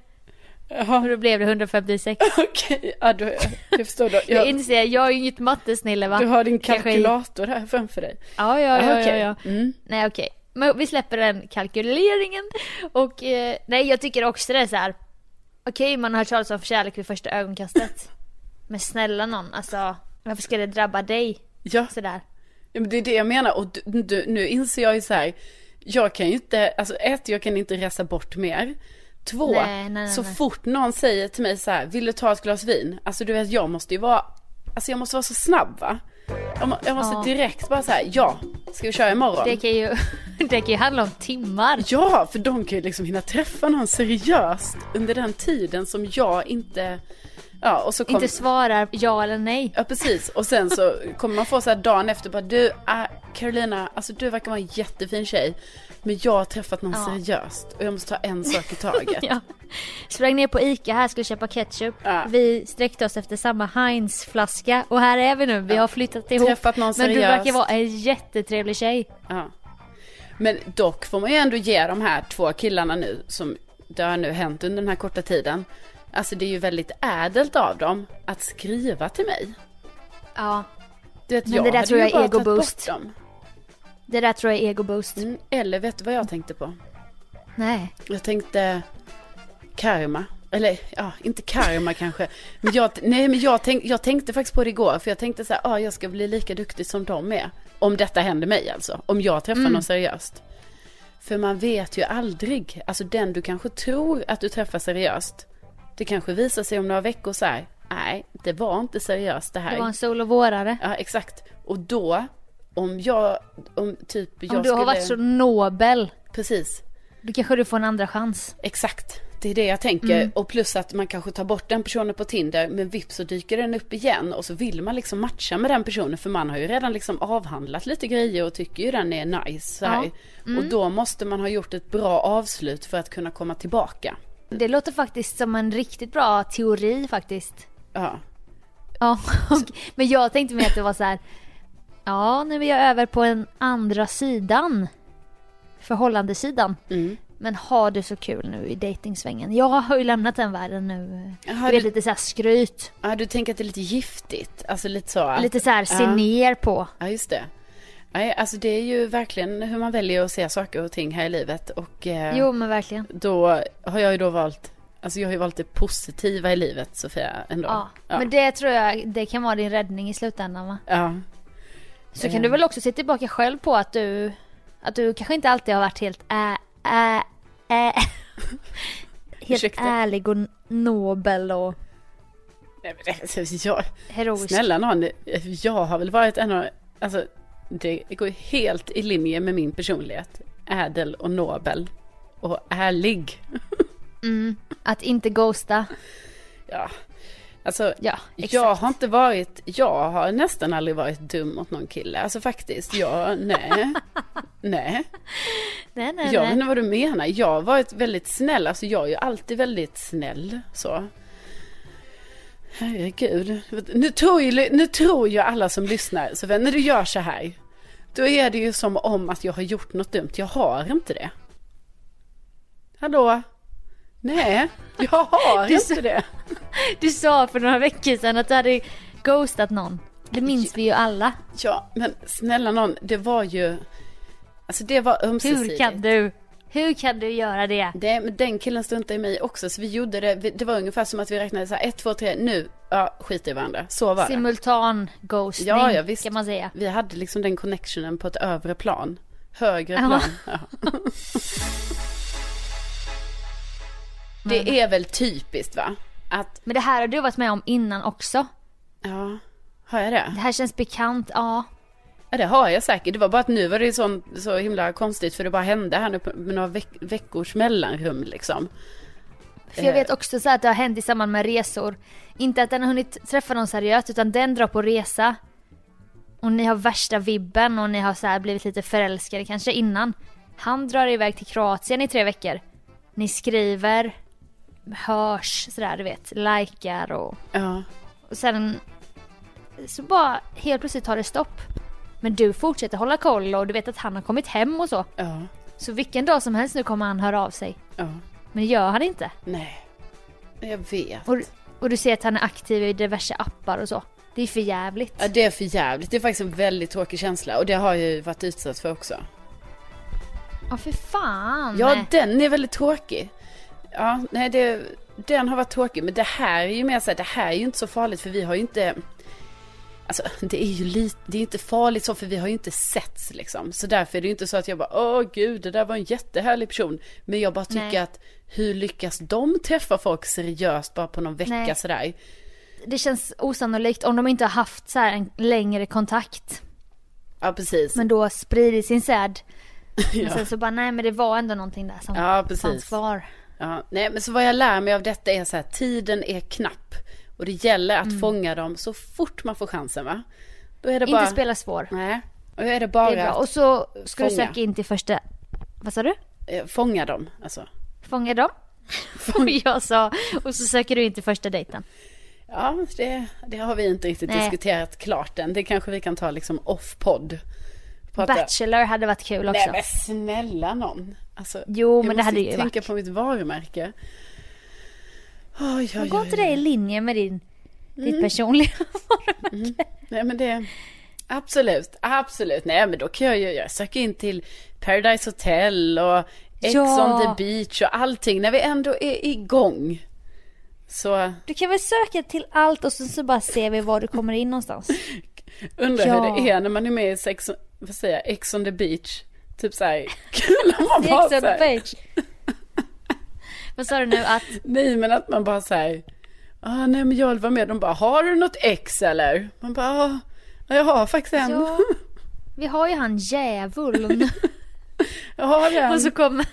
Speaker 6: Jaha,
Speaker 5: då blev det 156.
Speaker 6: okej. Ja, du, jag förstår. Då.
Speaker 5: Jag
Speaker 6: Jag,
Speaker 5: inser, jag är ju inget mattesnille va?
Speaker 6: du har din
Speaker 5: Kanske-
Speaker 6: kalkylator här framför dig.
Speaker 5: Ja, ja, ja,
Speaker 6: Okej.
Speaker 5: ja, ja.
Speaker 6: Mm.
Speaker 5: Nej okej. Men vi släpper den kalkyleringen. Och eh, nej jag tycker också det är så här. Okej man har hört talas om kärlek vid första ögonkastet. Men snälla någon, alltså varför ska det drabba dig?
Speaker 6: Ja.
Speaker 5: Sådär.
Speaker 6: Ja, men det är det jag menar och du, du, nu inser jag ju så här, jag kan ju inte, alltså ett, jag kan inte resa bort mer. Två,
Speaker 5: Nej, nej, nej,
Speaker 6: så
Speaker 5: nej.
Speaker 6: fort någon säger till mig så här, vill du ta ett glas vin? Alltså du vet, jag måste ju vara, alltså jag måste vara så snabb va? Jag, må, jag måste
Speaker 5: Ja.
Speaker 6: direkt bara så här, ja, ska vi köra imorgon?
Speaker 5: Det kan ju, det kan ju handla om timmar.
Speaker 6: Ja, för de kan ju liksom hinna träffa någon seriöst under den tiden som jag inte, ja och så kom,
Speaker 5: Inte svarar ja eller nej.
Speaker 6: Ja precis, och sen så kommer man få så här dagen efter bara du ah, Carolina, alltså du verkar vara en jättefin tjej men jag har träffat någon
Speaker 5: Ja.
Speaker 6: seriöst och jag måste ta en sak i taget.
Speaker 5: Ja. Sprang ner på ICA här, skulle köpa ketchup.
Speaker 6: Ja.
Speaker 5: Vi sträckte oss efter samma Heinz-flaska och här är vi nu. Vi har flyttat ihop.
Speaker 6: Träffat någon
Speaker 5: Men du
Speaker 6: seriöst.
Speaker 5: verkar vara en jättetrevlig tjej.
Speaker 6: Ja. Men dock får man ju ändå ge de här två killarna nu som det har nu hänt under den här korta tiden. Alltså det är ju väldigt ädelt av dem att skriva till mig.
Speaker 5: Ja,
Speaker 6: Du vet,
Speaker 5: Men det där
Speaker 6: hade
Speaker 5: tror
Speaker 6: ju
Speaker 5: jag är
Speaker 6: bara tagit
Speaker 5: egoboost.
Speaker 6: bort dem.
Speaker 5: det där tror jag är egoboost.
Speaker 6: Mm, eller vet du vad jag tänkte på?
Speaker 5: Nej.
Speaker 6: Jag tänkte karma. Eller ja, inte karma kanske. Men jag, nej, men jag, tänk, jag tänkte faktiskt på det igår. För jag tänkte så här, ah, jag ska bli lika duktig som de är. Om detta händer mig alltså. Om jag träffar
Speaker 5: Mm.
Speaker 6: någon seriöst. För man vet ju aldrig. Alltså den du kanske tror att du träffar seriöst. Det kanske visar sig om några veckor så här. Nej, det var inte seriöst det här.
Speaker 5: Det var en sol och vårare.
Speaker 6: Ja, exakt. Och då, om jag, om typ jag
Speaker 5: Om du
Speaker 6: skulle...
Speaker 5: har varit så nobel,
Speaker 6: Precis.
Speaker 5: då kanske du får en andra chans.
Speaker 6: Exakt, det är det jag tänker.
Speaker 5: Mm.
Speaker 6: Och plus att man kanske tar bort den personen på Tinder men vips så dyker den upp igen och så vill man liksom matcha med den personen för man har ju redan liksom avhandlat lite grejer och tycker ju den är nice. Så här.
Speaker 5: Mm.
Speaker 6: Och då måste man ha gjort ett bra avslut för att kunna komma tillbaka.
Speaker 5: Det låter faktiskt som en riktigt bra teori faktiskt.
Speaker 6: Ja.
Speaker 5: Ja, och, men jag tänkte mer att det var så här. Ja, nu är jag över på den andra sidan. Förhållandesidan.
Speaker 6: Mm.
Speaker 5: Men har du så kul nu i dejtingsvängen? Jag har ju lämnat den världen nu.
Speaker 6: Jaha,
Speaker 5: du vet
Speaker 6: du-
Speaker 5: lite så här skryt.
Speaker 6: ja, du tänker att det är lite giftigt, alltså lite så. att-
Speaker 5: Lite så här se
Speaker 6: Ja.
Speaker 5: ner på.
Speaker 6: Ja, just det. Nej, alltså det är ju verkligen hur man väljer att se saker och ting här i livet och eh,
Speaker 5: Jo men verkligen.
Speaker 6: då har jag ju då valt, alltså jag har ju valt det positiva i livet Sofia ändå.
Speaker 5: Ja. Men det tror jag det kan vara din räddning i slutändan va?
Speaker 6: Ja.
Speaker 5: Så
Speaker 6: Eh.
Speaker 5: kan du väl också se tillbaka själv på att du, att du kanske inte alltid har varit helt ä, ä, ä, helt
Speaker 6: Ursäkta.
Speaker 5: ärlig och nobel och
Speaker 6: Nej, men det- alltså, jag,
Speaker 5: Heroisk.
Speaker 6: snälla någon, jag har väl varit en av, alltså det går ju helt i linje med min personlighet. Ädel och nobel och ärlig.
Speaker 5: Att inte ghosta.
Speaker 6: Ja, alltså
Speaker 5: Ja, exakt.
Speaker 6: jag har inte varit, jag har nästan aldrig varit dum mot någon kille. Alltså faktiskt, jag, nej, nej.
Speaker 5: Nej, nej,
Speaker 6: Jag vet
Speaker 5: nej.
Speaker 6: inte vad du menar. Jag har varit väldigt snäll. Alltså jag är ju alltid väldigt snäll. Så. Herregud. Nu tror, ju, nu tror ju alla som lyssnar, så när du gör så här, då är det ju som om att jag har gjort något dumt. Jag har inte det. Hallå? Nej, jag har
Speaker 5: Du
Speaker 6: inte
Speaker 5: sa-
Speaker 6: det.
Speaker 5: Du sa för några veckor sedan att du hade ghostat någon. Det minns vi ju alla.
Speaker 6: Ja, men snälla någon, det var ju... Alltså det var ömsesidigt.
Speaker 5: Hur kan du? Hur kan du göra det?
Speaker 6: Det, men den killen struntade i mig också, så vi gjorde det. vi- Det var ungefär som att vi räknade så här, ett, två, tre, nu, ja, skit i varandra. Så var det.
Speaker 5: Simultan ghostning
Speaker 6: Ja, ja, visst.
Speaker 5: kan man säga.
Speaker 6: Vi hade liksom den connectionen på ett övre plan. Högre
Speaker 5: Ja.
Speaker 6: plan. Ja. det är väl typiskt va? Att,
Speaker 5: Men det här har du varit med om innan också.
Speaker 6: ja, har jag det?
Speaker 5: Det här känns bekant. Ja,
Speaker 6: Ja, det har jag säkert. Det var bara att nu var det ju sån, så himla konstigt för det bara hände här nu på- med några veck- veckors mellanrum liksom.
Speaker 5: För jag vet också så här att det har hänt i samband med resor. Inte att den har hunnit träffa någon seriöst utan den drar på resa. Och ni har värsta vibben och ni har så här blivit lite förälskade kanske innan. Han drar iväg till Kroatien i tre veckor. Ni skriver, hörs sådär du vet, likar och,
Speaker 6: Ja.
Speaker 5: och sen så bara helt plötsligt tar det stopp. Men du fortsätter hålla koll och du vet att han har kommit hem och så.
Speaker 6: Ja.
Speaker 5: Så vilken dag som helst nu kommer han höra av sig.
Speaker 6: Ja.
Speaker 5: Men det gör han inte.
Speaker 6: Nej. Jag vet.
Speaker 5: Och, och du ser att han är aktiv i diverse appar och så. Det är för jävligt.
Speaker 6: Ja, det är för jävligt. Det är faktiskt en väldigt tråkig känsla och det har jag ju varit utsatt för också.
Speaker 5: Mm. Ja, för fan.
Speaker 6: Ja, den är väldigt tråkig. Ja, nej, det, den har varit tråkig. Men det här är ju mer så här, det här är ju inte så farligt för vi har ju inte... Alltså, det är ju lite, det är inte farligt så för vi har ju inte setts liksom. Så därför är det ju inte så att jag bara, åh gud, det där var en jättehärlig person. Men jag bara tycker
Speaker 5: Nej.
Speaker 6: att, hur lyckas de träffa folk seriöst bara på någon vecka
Speaker 5: Nej.
Speaker 6: sådär?
Speaker 5: Det känns osannolikt om de inte har haft så här en längre kontakt.
Speaker 6: Ja, precis.
Speaker 5: Men då sprider sin säd. Men
Speaker 6: ja.
Speaker 5: sen så bara, nej men det var ändå någonting där som
Speaker 6: Ja, precis.
Speaker 5: fanns kvar.
Speaker 6: Ja, nej, men så vad jag lär mig av detta är så här, tiden är knapp. Och det gäller att fånga dem så fort man får chansen va? Då är det bara...
Speaker 5: Mm. Inte spela svår.
Speaker 6: Nej, och är det bara
Speaker 5: det är bra. Och
Speaker 6: att
Speaker 5: så ska du
Speaker 6: fånga.
Speaker 5: söka in till första... Vad sa du?
Speaker 6: eh, fånga dem. Alltså.
Speaker 5: Fånga dem? Och jag sa, och så söker du in till första dejten.
Speaker 6: Ja, det, det har vi inte riktigt
Speaker 5: Nej.
Speaker 6: diskuterat klart än. Det kanske vi kan ta liksom off-podd. Prata-
Speaker 5: Bachelor hade varit kul också.
Speaker 6: Nej men snälla någon. Alltså,
Speaker 5: Jo,
Speaker 6: jag
Speaker 5: men det
Speaker 6: måste
Speaker 5: hade ju
Speaker 6: tänka
Speaker 5: varit.
Speaker 6: på mitt varumärke. Oj, oj,
Speaker 5: Går
Speaker 6: oj. Mm.
Speaker 5: inte det i linje med din, ditt personliga varumärke?
Speaker 6: Nej men det... Absolut, absolut. Nej men då kan jag ju, jag söker in till Paradise Hotel och Ex
Speaker 5: Ja.
Speaker 6: on the beach och allting när vi ändå är igång. Så
Speaker 5: Du kan väl söka till allt och sen så bara ser vi var du kommer in någonstans.
Speaker 6: Undrar
Speaker 5: Ja.
Speaker 6: hur det är när man är med i sex, vad säger jag, Ex on the beach. Typ såhär, kul om man bara
Speaker 5: Sex on the
Speaker 6: såhär,
Speaker 5: page. Vad sa du nu att,
Speaker 6: nej men att man bara såhär, ah, nej men jag vill vara med, de bara, har du något ex eller? Man bara, ah, jag har faktiskt en.
Speaker 5: ja, vi har ju han djävulen.
Speaker 6: Jag har en.
Speaker 5: Och så kommer,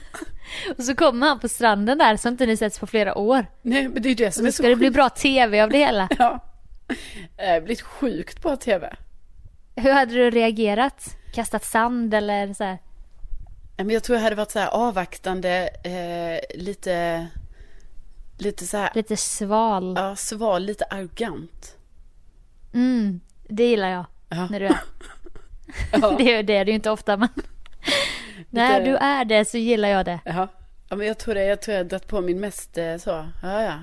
Speaker 5: och så kommer han på stranden där så inte ni setts på flera år.
Speaker 6: nej men det är ju det som är
Speaker 5: Så
Speaker 6: så
Speaker 5: ska det bli bra tv av det hela.
Speaker 6: sjukt. Ja. Det
Speaker 5: Eh,
Speaker 6: har blivit sjukt bra tv.
Speaker 5: Hur hade du reagerat? Kastat sand eller så här?
Speaker 6: Nej, Men jag tror jag hade varit så här avvaktande, eh, lite, lite så här,
Speaker 5: Lite sval.
Speaker 6: ja sval, lite arrogant.
Speaker 5: Mm, det gillar jag.
Speaker 6: Ja.
Speaker 5: När du är. det, är- det är det ju inte ofta men. När
Speaker 6: Lite-
Speaker 5: du är det så gillar jag det.
Speaker 6: Jaha. Ja, men jag tror det. Jag tror jag har dragit på min mest eh, så. Ja, ja.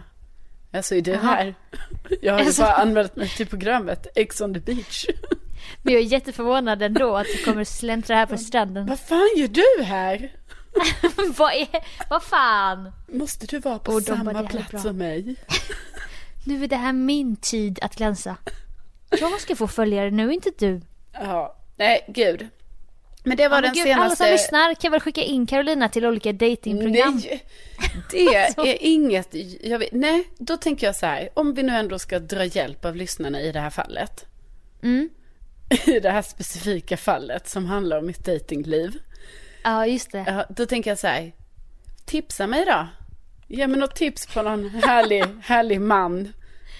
Speaker 6: Alltså är du
Speaker 5: Jaha.
Speaker 6: här? Jag har ju
Speaker 5: Alltså.
Speaker 6: bara anmält mig till programmet Ex on the beach.
Speaker 5: Men jag är jätteförvånad ändå att du kommer släntra här på stranden.
Speaker 6: Vad fan gör du här?
Speaker 5: Vad är... Vad fan!
Speaker 6: Måste du vara på
Speaker 5: Och de bara, "Det här
Speaker 6: samma
Speaker 5: är bra."
Speaker 6: plats som mig?
Speaker 5: Nu är det här min tid att glänsa. Jag ska få följare nu, inte du.
Speaker 6: Ja. Nej, gud. Men det var
Speaker 5: Ja, men
Speaker 6: den
Speaker 5: gud,
Speaker 6: senaste...
Speaker 5: Alla som lyssnar kan väl skicka in Carolina till olika datingprogram.
Speaker 6: Nej, det
Speaker 5: Alltså.
Speaker 6: är inget... Jag vet, nej, då tänker jag så här. Om vi nu ändå ska dra hjälp av lyssnarna i det här fallet.
Speaker 5: Mm.
Speaker 6: I det här specifika fallet som handlar om mitt datingliv.
Speaker 5: Ja, just det.
Speaker 6: Ja, Då tänker jag så här. Tipsa mig då. Ge mig något tips på någon härlig, härlig man.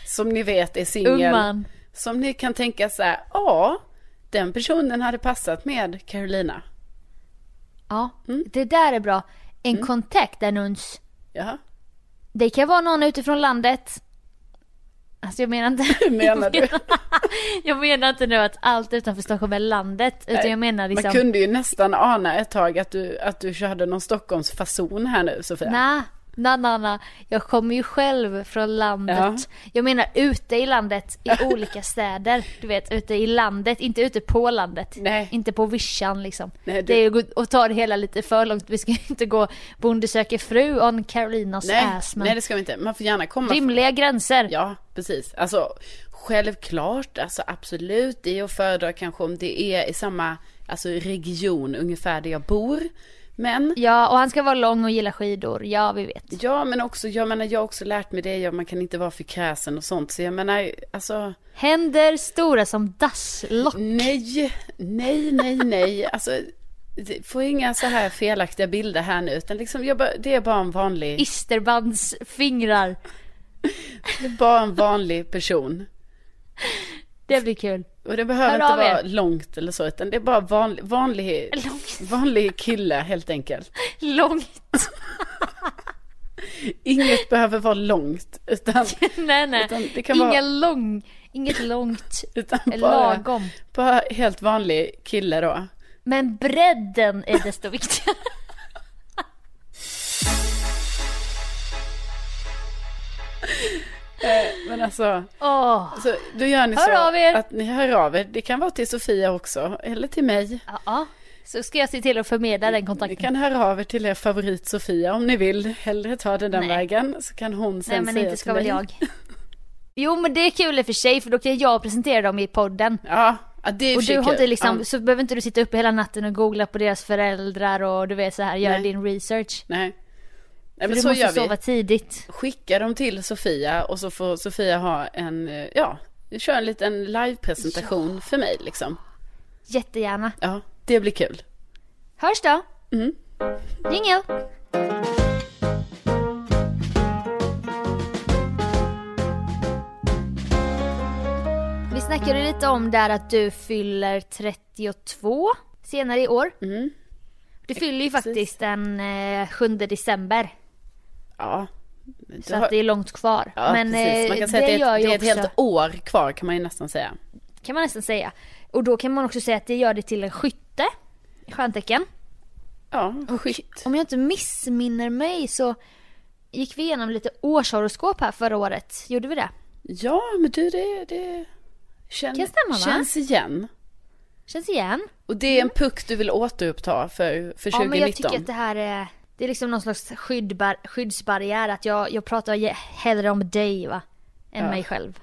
Speaker 6: Som ni vet är
Speaker 5: Ung
Speaker 6: singel.
Speaker 5: man.
Speaker 6: Som ni kan tänka så här. Ja, den personen hade passat med Carolina.
Speaker 5: Ja,
Speaker 6: Mm.
Speaker 5: det där är bra. En kontaktannons.
Speaker 6: Jaha.
Speaker 5: Det kan vara någon utifrån landet. Alltså jag menar inte...
Speaker 6: Hur menar du?
Speaker 5: Jag menar inte nu att allt utanför Stockholm är landet. Utan jag menar liksom...
Speaker 6: Man kunde ju nästan ana ett tag att du, att du körde någon Stockholmsfason här nu Sofia.
Speaker 5: Nej, nej, nej, nej. Jag kommer ju själv från landet.
Speaker 6: Ja.
Speaker 5: Jag menar ute i landet, i olika städer. Du vet, ute i landet, inte ute på landet.
Speaker 6: Nej.
Speaker 5: Inte på vischan liksom.
Speaker 6: Nej, du-
Speaker 5: Det är ju gå- att ta det hela lite för långt. Vi ska ju inte gå Bonde söker fru on Carolinas
Speaker 6: nej,
Speaker 5: ass. Men
Speaker 6: nej, det ska vi inte. Man får gärna komma.
Speaker 5: rimliga gränser.
Speaker 6: Ja, precis. Alltså, självklart, alltså absolut. Det är att föredra kanske om det är i samma alltså, region ungefär där jag bor. Men,
Speaker 5: Ja, och han ska vara lång och gilla skidor. Ja, vi vet.
Speaker 6: ja men också, jag menar jag har också lärt mig det, ja, man kan inte vara för kräsen och sånt. Så jag menar, alltså,
Speaker 5: Händer stora som dasslock.
Speaker 6: Nej, nej, nej, nej. Alltså, det- få inga så här felaktiga bilder här nu. Utan liksom, jag bara, det är bara en vanlig,
Speaker 5: Isterbands fingrar.
Speaker 6: det är bara en vanlig person.
Speaker 5: Det blir kul.
Speaker 6: Och det behöver
Speaker 5: Hör
Speaker 6: inte
Speaker 5: av er.
Speaker 6: vara långt eller så. Utan det är bara vanlig, vanlig,
Speaker 5: Långt.
Speaker 6: vanlig kille helt enkelt.
Speaker 5: Långt.
Speaker 6: Inget behöver vara långt. Utan,
Speaker 5: Nej, nej.
Speaker 6: Utan det kan
Speaker 5: Inga
Speaker 6: vara-
Speaker 5: lång, inget långt, eh,
Speaker 6: utan bara,
Speaker 5: lagom.
Speaker 6: bara helt vanlig kille då.
Speaker 5: Men bredden är desto viktigare.
Speaker 6: Men alltså,
Speaker 5: Åh,
Speaker 6: så, då gör ni
Speaker 5: Hör
Speaker 6: så
Speaker 5: av er.
Speaker 6: att ni hör av er. Det kan vara till Sofia också, eller till mig.
Speaker 5: ja, ja. Så ska jag se till att förmedla den
Speaker 6: Ni
Speaker 5: kontakten.
Speaker 6: kan höra av er till er favorit Sofia om ni vill. Hellre ta den den
Speaker 5: Nej.
Speaker 6: vägen så kan hon sen
Speaker 5: Nej, men
Speaker 6: säga
Speaker 5: inte ska
Speaker 6: till
Speaker 5: väl
Speaker 6: dig.
Speaker 5: jag. Jo, men det är kul i och för sig, för då kan jag presentera dem i podden.
Speaker 6: Ja, ja det är
Speaker 5: Och
Speaker 6: för sig
Speaker 5: du har inte
Speaker 6: kul.
Speaker 5: liksom,
Speaker 6: Ja,
Speaker 5: så behöver inte du sitta uppe hela natten och googla på deras föräldrar och du vet så här, göra
Speaker 6: Nej.
Speaker 5: din research.
Speaker 6: nej. Nej,
Speaker 5: För
Speaker 6: men
Speaker 5: du
Speaker 6: så
Speaker 5: måste
Speaker 6: gör vi.
Speaker 5: sova tidigt.
Speaker 6: Skicka dem till Sofia och så får Sofia ha en, eh, ja, kör en liten livepresentation för mig liksom.
Speaker 5: Jättegärna.
Speaker 6: Ja, det blir kul.
Speaker 5: Hörs då!
Speaker 6: Mm.
Speaker 5: Jingel! Vi snackade lite om där att du fyller 32 senare i år.
Speaker 6: Mm.
Speaker 5: Du fyller ju faktiskt den eh, 7 december.
Speaker 6: Ja.
Speaker 5: Så att det är långt kvar.
Speaker 6: ja,
Speaker 5: Men
Speaker 6: precis. Man
Speaker 5: eh,
Speaker 6: kan säga
Speaker 5: det
Speaker 6: att det
Speaker 5: gör
Speaker 6: är, ett, det
Speaker 5: ju
Speaker 6: är
Speaker 5: också,
Speaker 6: ett helt år kvar kan man ju nästan säga.
Speaker 5: kan man nästan säga. Och då kan man också säga att det gör det till en skytte. i Stjärntecken.
Speaker 6: Ja, skit.
Speaker 5: Om jag inte missminner mig så gick vi igenom lite årshoroskop här förra året. Gjorde vi det?
Speaker 6: Ja, men du det, det känn,
Speaker 5: Kan stämma, va?
Speaker 6: känns igen.
Speaker 5: Känns igen.
Speaker 6: Och det är en puck du vill återuppta för, för
Speaker 5: Ja,
Speaker 6: 2019?
Speaker 5: men jag tycker att det här är... Det är liksom någon slags skyddbar, skyddsbarriär att jag, jag pratar ge- hellre om dig va? Än
Speaker 6: Ja.
Speaker 5: mig själv.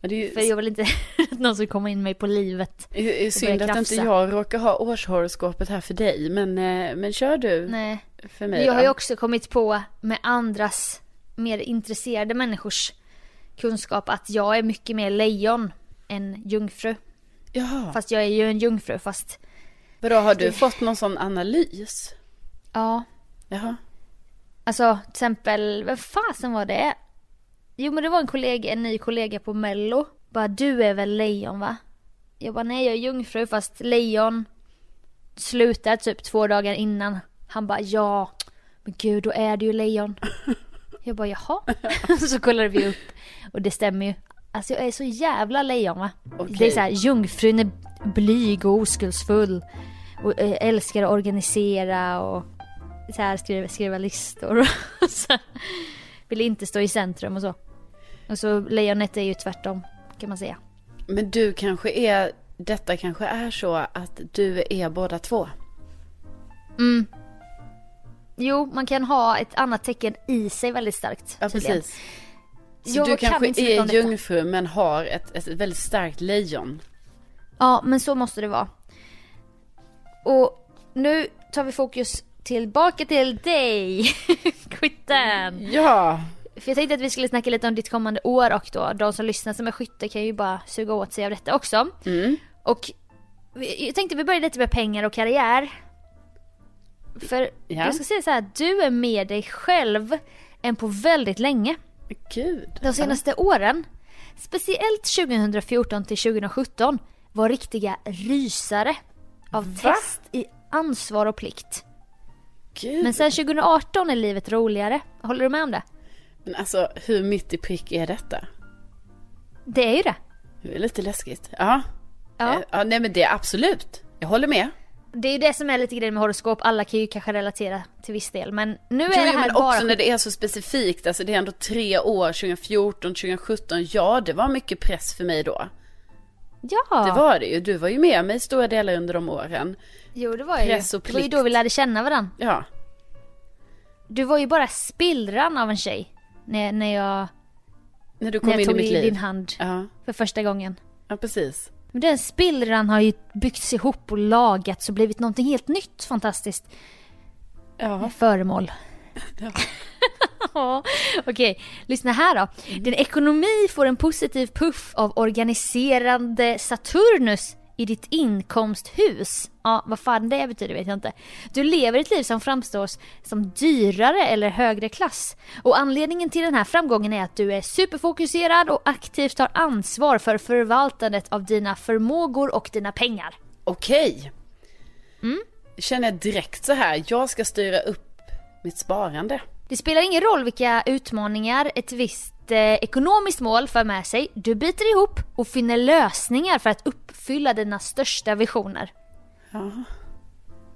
Speaker 6: Men det är ju
Speaker 5: För jag vill inte att någon ska komma in mig på livet.
Speaker 6: det är synd
Speaker 5: börjar
Speaker 6: att inte
Speaker 5: krafsa.
Speaker 6: jag råkar ha årshoroskopet här för dig, men, eh, men kör du
Speaker 5: Nej.
Speaker 6: för mig
Speaker 5: Men jag
Speaker 6: då?
Speaker 5: har ju också kommit på med andras mer intresserade människors kunskap att jag är mycket mer lejon än jungfru.
Speaker 6: Jaha,
Speaker 5: Fast jag är ju en jungfru fast
Speaker 6: bra, har du fått någon sån analys?
Speaker 5: ja,
Speaker 6: Jaha,
Speaker 5: Alltså till exempel, vem fasen var det? Jo men det var en kollega, en ny kollega på mello. Bara du är väl lejon va? Jag bara nej jag är jungfru fast lejon slutar typ två dagar innan. Han bara ja, men gud då är du ju lejon. Jag bara jaha. Så kollade vi upp och det stämmer ju. Alltså jag är så jävla lejon va?
Speaker 6: Okej.
Speaker 5: Det är så här, jungfrun är blyg och oskuldsfull. Och eh, älskar att organisera och så här, skriva, skriva listor. Och så vill inte stå i centrum och så. Och så Alltså, lejonet är ju tvärtom kan man säga.
Speaker 6: men du kanske är, detta kanske är så att du är båda två?
Speaker 5: Mm. Jo, man kan ha ett annat tecken i sig väldigt starkt.
Speaker 6: Ja,
Speaker 5: tydligen.
Speaker 6: precis. Så
Speaker 5: Jag
Speaker 6: du
Speaker 5: kan
Speaker 6: kanske
Speaker 5: inte så mycket om
Speaker 6: är
Speaker 5: detta.
Speaker 6: jungfru men har ett, ett väldigt starkt lejon?
Speaker 5: Ja, men så måste det vara. Och nu tar vi fokus tillbaka till dig, skytten.
Speaker 6: Ja,
Speaker 5: För jag tänkte att vi skulle snacka lite om ditt kommande år och då de som lyssnar som är skytte kan ju bara suga åt sig av detta också.
Speaker 6: Mm.
Speaker 5: Och vi- jag tänkte vi börjar lite med pengar och karriär. För
Speaker 6: Ja.
Speaker 5: jag ska säga så här, du är mer dig själv än på väldigt länge.
Speaker 6: gud.
Speaker 5: De senaste åren, speciellt 2014 till 2017, var riktiga rysare av test i ansvar och plikt.
Speaker 6: Gud.
Speaker 5: Men sen 2018 är livet roligare. Håller du med om det?
Speaker 6: Men alltså, hur mitt i prick är detta?
Speaker 5: Det är ju det.
Speaker 6: Det är lite läskigt. Ja.
Speaker 5: Ja.
Speaker 6: Eh, ja nej men det är absolut. Jag håller med.
Speaker 5: Det är ju det som är lite grejen med horoskop. Alla kan ju kanske relatera till viss del. Men nu är
Speaker 6: Jo,
Speaker 5: det
Speaker 6: jo,
Speaker 5: här
Speaker 6: men
Speaker 5: bara...
Speaker 6: också när det är så specifikt. Alltså det är ändå tre år, 2014, 2017. Ja, det var mycket press för mig då.
Speaker 5: Ja!
Speaker 6: Det var det ju. Du var ju med mig i stora delar under de åren.
Speaker 5: Jo, det var jag ju.
Speaker 6: press och
Speaker 5: Det var ju
Speaker 6: plikt.
Speaker 5: då vi lärde känna varandra.
Speaker 6: Ja.
Speaker 5: Du var ju bara spillran av en tjej. När, när jag,
Speaker 6: När du kom
Speaker 5: när jag
Speaker 6: in i
Speaker 5: tog
Speaker 6: mitt
Speaker 5: i
Speaker 6: liv.
Speaker 5: din hand
Speaker 6: Ja,
Speaker 5: för första gången.
Speaker 6: ja precis.
Speaker 5: Men den spillran har ju byggts ihop och lagats och blivit någonting helt nytt fantastiskt
Speaker 6: Ja.
Speaker 5: föremål.
Speaker 6: Ja.
Speaker 5: Ja, Okej, lyssna här då. Din ekonomi får en positiv puff av organiserande Saturnus i ditt inkomsthus. Ja, vad fan det betyder vet jag inte. Du lever ett liv som framstår som dyrare eller högre klass. Och anledningen till den här framgången är att du är superfokuserad och aktivt tar ansvar för förvaltandet av dina förmågor och dina pengar.
Speaker 6: Okej.
Speaker 5: Mm.
Speaker 6: Känner jag direkt så här. Jag ska styra upp mitt sparande.
Speaker 5: Det spelar ingen roll vilka utmaningar ett visst eh, ekonomiskt mål för med sig. Du biter ihop och finner lösningar för att uppfylla dina största visioner.
Speaker 6: Ja.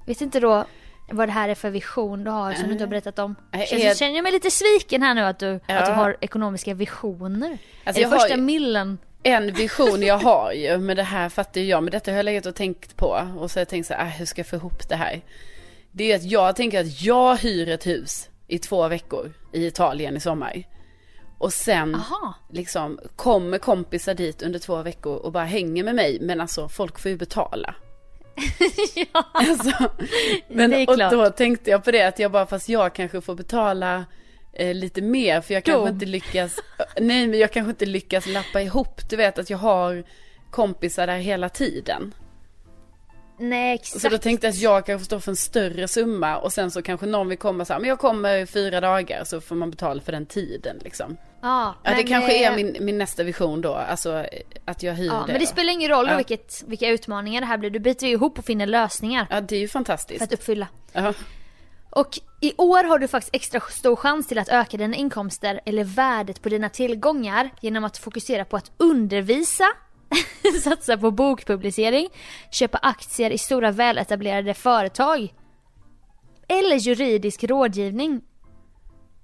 Speaker 5: Vet inte då vad det här är för vision du har som du inte har berättat om.
Speaker 6: Nej,
Speaker 5: Känns,
Speaker 6: är-
Speaker 5: Känner jag mig lite sviken här nu att du,
Speaker 6: Ja.
Speaker 5: att du har ekonomiska visioner.
Speaker 6: Alltså,
Speaker 5: är
Speaker 6: jag
Speaker 5: det första
Speaker 6: har ju- Mm.
Speaker 5: millen?
Speaker 6: En vision jag har ju, men det här fattar ju jag, men detta har jag legat och tänkt på. Och så har jag tänkt så här, "Ah, hur ska jag få ihop det här? Det är ju att jag tänker att jag hyr ett hus i två veckor i Italien i sommar. Och sen
Speaker 5: Aha.
Speaker 6: liksom kommer kompisar dit under två veckor och bara hänger med mig. Men alltså folk får ju betala.
Speaker 5: ja.
Speaker 6: Alltså, men,
Speaker 5: Det är
Speaker 6: och
Speaker 5: klart.
Speaker 6: då tänkte jag på det att jag bara, fast jag kanske får betala eh, lite mer för jag kanske
Speaker 5: Dom.
Speaker 6: inte lyckas, nej men jag kanske inte lyckas lappa ihop, du vet att jag har kompisar där hela tiden.
Speaker 5: Nej
Speaker 6: Så
Speaker 5: exakt.
Speaker 6: då tänkte jag att jag kanske står för en större summa och sen så kanske någon vill komma så här, men jag kommer fyra dagar så får man betala för den tiden liksom.
Speaker 5: ja,
Speaker 6: Ja, det
Speaker 5: men,
Speaker 6: kanske är
Speaker 5: eh,
Speaker 6: min, min nästa vision då, alltså eh, att jag hyr
Speaker 5: Ja,
Speaker 6: det.
Speaker 5: men det spelar ingen roll
Speaker 6: Ja.
Speaker 5: då vilket, vilka utmaningar det här blir. Du biter ju ihop och finner lösningar
Speaker 6: Ja, det är ju
Speaker 5: för
Speaker 6: fantastiskt.
Speaker 5: att uppfylla.
Speaker 6: Ja.
Speaker 5: Och i år har du faktiskt extra stor chans till att öka dina inkomster eller värdet på dina tillgångar genom att fokusera på att undervisa, satsa på bokpublicering, köpa aktier i stora väletablerade företag eller juridisk rådgivning.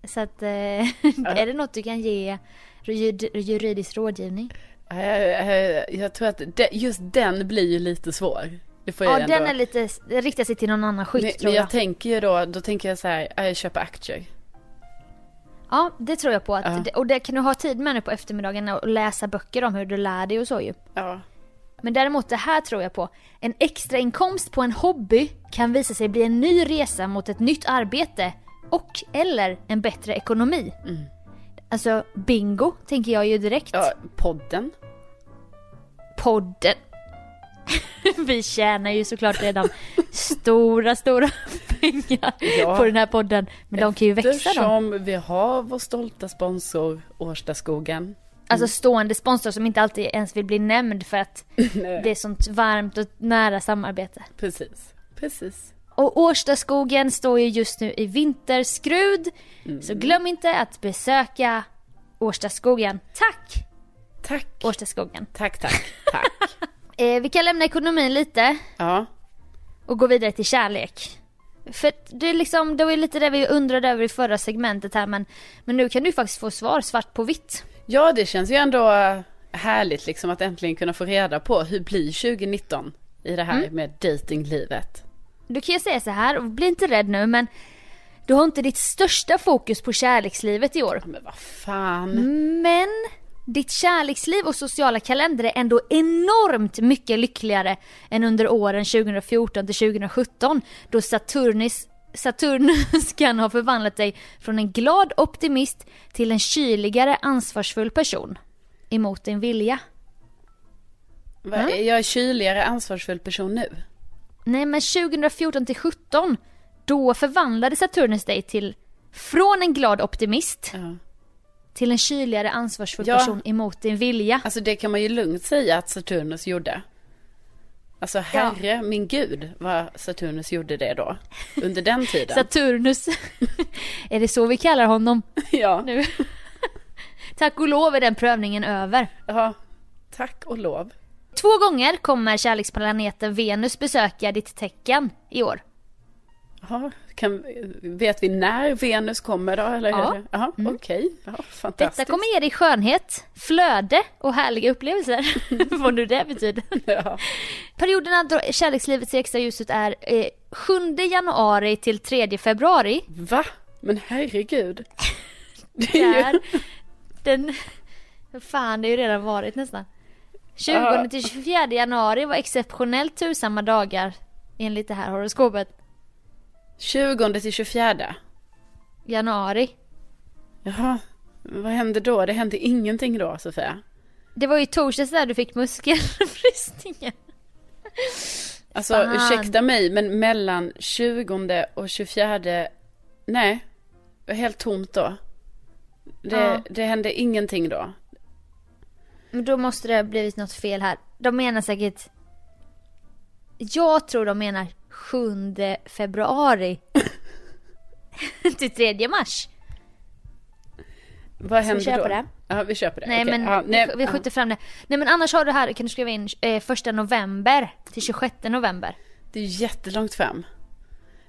Speaker 5: Så att, eh, är det något du kan ge jud- juridisk rådgivning?
Speaker 6: Jag, jag, jag tror att de, just den blir ju lite svår. Det får
Speaker 5: Ja,
Speaker 6: jag ändå.
Speaker 5: den är lite, den riktar sig till någon annan skytt
Speaker 6: men,
Speaker 5: tror
Speaker 6: men
Speaker 5: jag.
Speaker 6: jag tänker ju då, då tänker jag så här, ja, jag köper aktier.
Speaker 5: Ja, det tror jag på. Att,
Speaker 6: Ja.
Speaker 5: det- Och det kan du ha tid med nu på eftermiddagen och läsa böcker om hur du lär dig och så ju.
Speaker 6: Ja.
Speaker 5: Men däremot det här tror jag på. En extra inkomst på en hobby kan visa sig bli en ny resa mot ett nytt arbete och eller en bättre ekonomi. Alltså bingo tänker jag ju direkt.
Speaker 6: Mm. ja, podden.
Speaker 5: Podden. Vi tjänar ju såklart redan stora, stora pengar
Speaker 6: Ja.
Speaker 5: på den här podden. Men de kan ju växa då.
Speaker 6: Eftersom vi har vår stolta sponsor Årstaskogen.
Speaker 5: Alltså stående sponsor som inte alltid ens vill bli nämnd för att det är sånt varmt och nära samarbete.
Speaker 6: Precis, preskogen
Speaker 5: Och Årstaskogen står ju just nu i vinterskrud. Så glöm inte att besöka Årstaskogen. Tack
Speaker 6: Tack.
Speaker 5: Årstaskogen!
Speaker 6: Tack, tack, tack.
Speaker 5: Eh, vi kan lämna ekonomin lite
Speaker 6: ja.
Speaker 5: och gå vidare till kärlek. För att det, är liksom, det var ju lite det vi undrade över i förra segmentet här men, men nu kan du faktiskt få svar svart på vitt.
Speaker 6: ja, det känns ju ändå äh, härligt liksom att äntligen kunna få reda på hur blir 2019 i det här
Speaker 5: Mm.
Speaker 6: med datinglivet.
Speaker 5: Du kan ju säga så här, och bli inte rädd nu men du har inte ditt största fokus på kärlekslivet i år.
Speaker 6: Men vad fan.
Speaker 5: Men ditt kärleksliv och sociala kalender är ändå enormt mycket lyckligare än under åren 2014 till 2017 då Saturnis Saturnus kan ha förvandlat dig från en glad optimist till en kyligare ansvarsfull person. Emot din vilja.
Speaker 6: Va, är Jag är kyligare ansvarsfull person nu.
Speaker 5: Nej men 2014 till 17 då förvandlade Saturnus dig till från en glad optimist
Speaker 6: Ja.
Speaker 5: till en kyligare ansvarsfull
Speaker 6: Ja.
Speaker 5: person emot din vilja.
Speaker 6: Alltså det kan man ju lugnt säga att Saturnus gjorde. Alltså herre min gud vad Saturnus gjorde det då. Under den tiden.
Speaker 5: Saturnus. är det så vi kallar honom
Speaker 6: ja.
Speaker 5: nu? Tack och lov är den prövningen över.
Speaker 6: ja. Tack och lov.
Speaker 5: Två gånger kommer kärleksplaneten Venus besöka ditt tecken i år.
Speaker 6: Jaha, kan, vet vi när Venus kommer då? Eller
Speaker 5: Ja. Mm.
Speaker 6: hur? Jaha, okej. Ja, fantastiskt.
Speaker 5: Detta kommer ge dig skönhet, flöde och härliga upplevelser. Vad nu det betyder.
Speaker 6: Ja.
Speaker 5: Perioderna då kärlekslivet ser extra ljus ut är eh, 7 januari till 3 februari.
Speaker 6: Va? Men herregud. Det är ju...
Speaker 5: där. Den... Fan, det har ju redan varit nästan. 20
Speaker 6: Ja.
Speaker 5: till 24 januari var exceptionellt tursamma dagar enligt det här horoskopet.
Speaker 6: 20 till 24.
Speaker 5: Januari.
Speaker 6: Jaha, vad hände då? Det hände ingenting då Sofia?
Speaker 5: Det var ju i torsdags där du fick muskelbristningen.
Speaker 6: Alltså
Speaker 5: Fan.
Speaker 6: ursäkta mig, men mellan 20 och 24, nej, det var helt tomt då. Det,
Speaker 5: Ja.
Speaker 6: det hände ingenting då.
Speaker 5: Men då måste det ha blivit något fel här. De menar säkert... Jag tror de menar 7 februari. till 3 mars.
Speaker 6: Vad hände
Speaker 5: köra
Speaker 6: då?
Speaker 5: på det?
Speaker 6: Ja, vi köper det.
Speaker 5: Nej
Speaker 6: Okej.
Speaker 5: men
Speaker 6: ja, nej,
Speaker 5: vi, vi skjuter fram det. Nej men annars har du här, kan du skriva in eh, första november till 26 november.
Speaker 6: ja, det är ju jättelångt fram.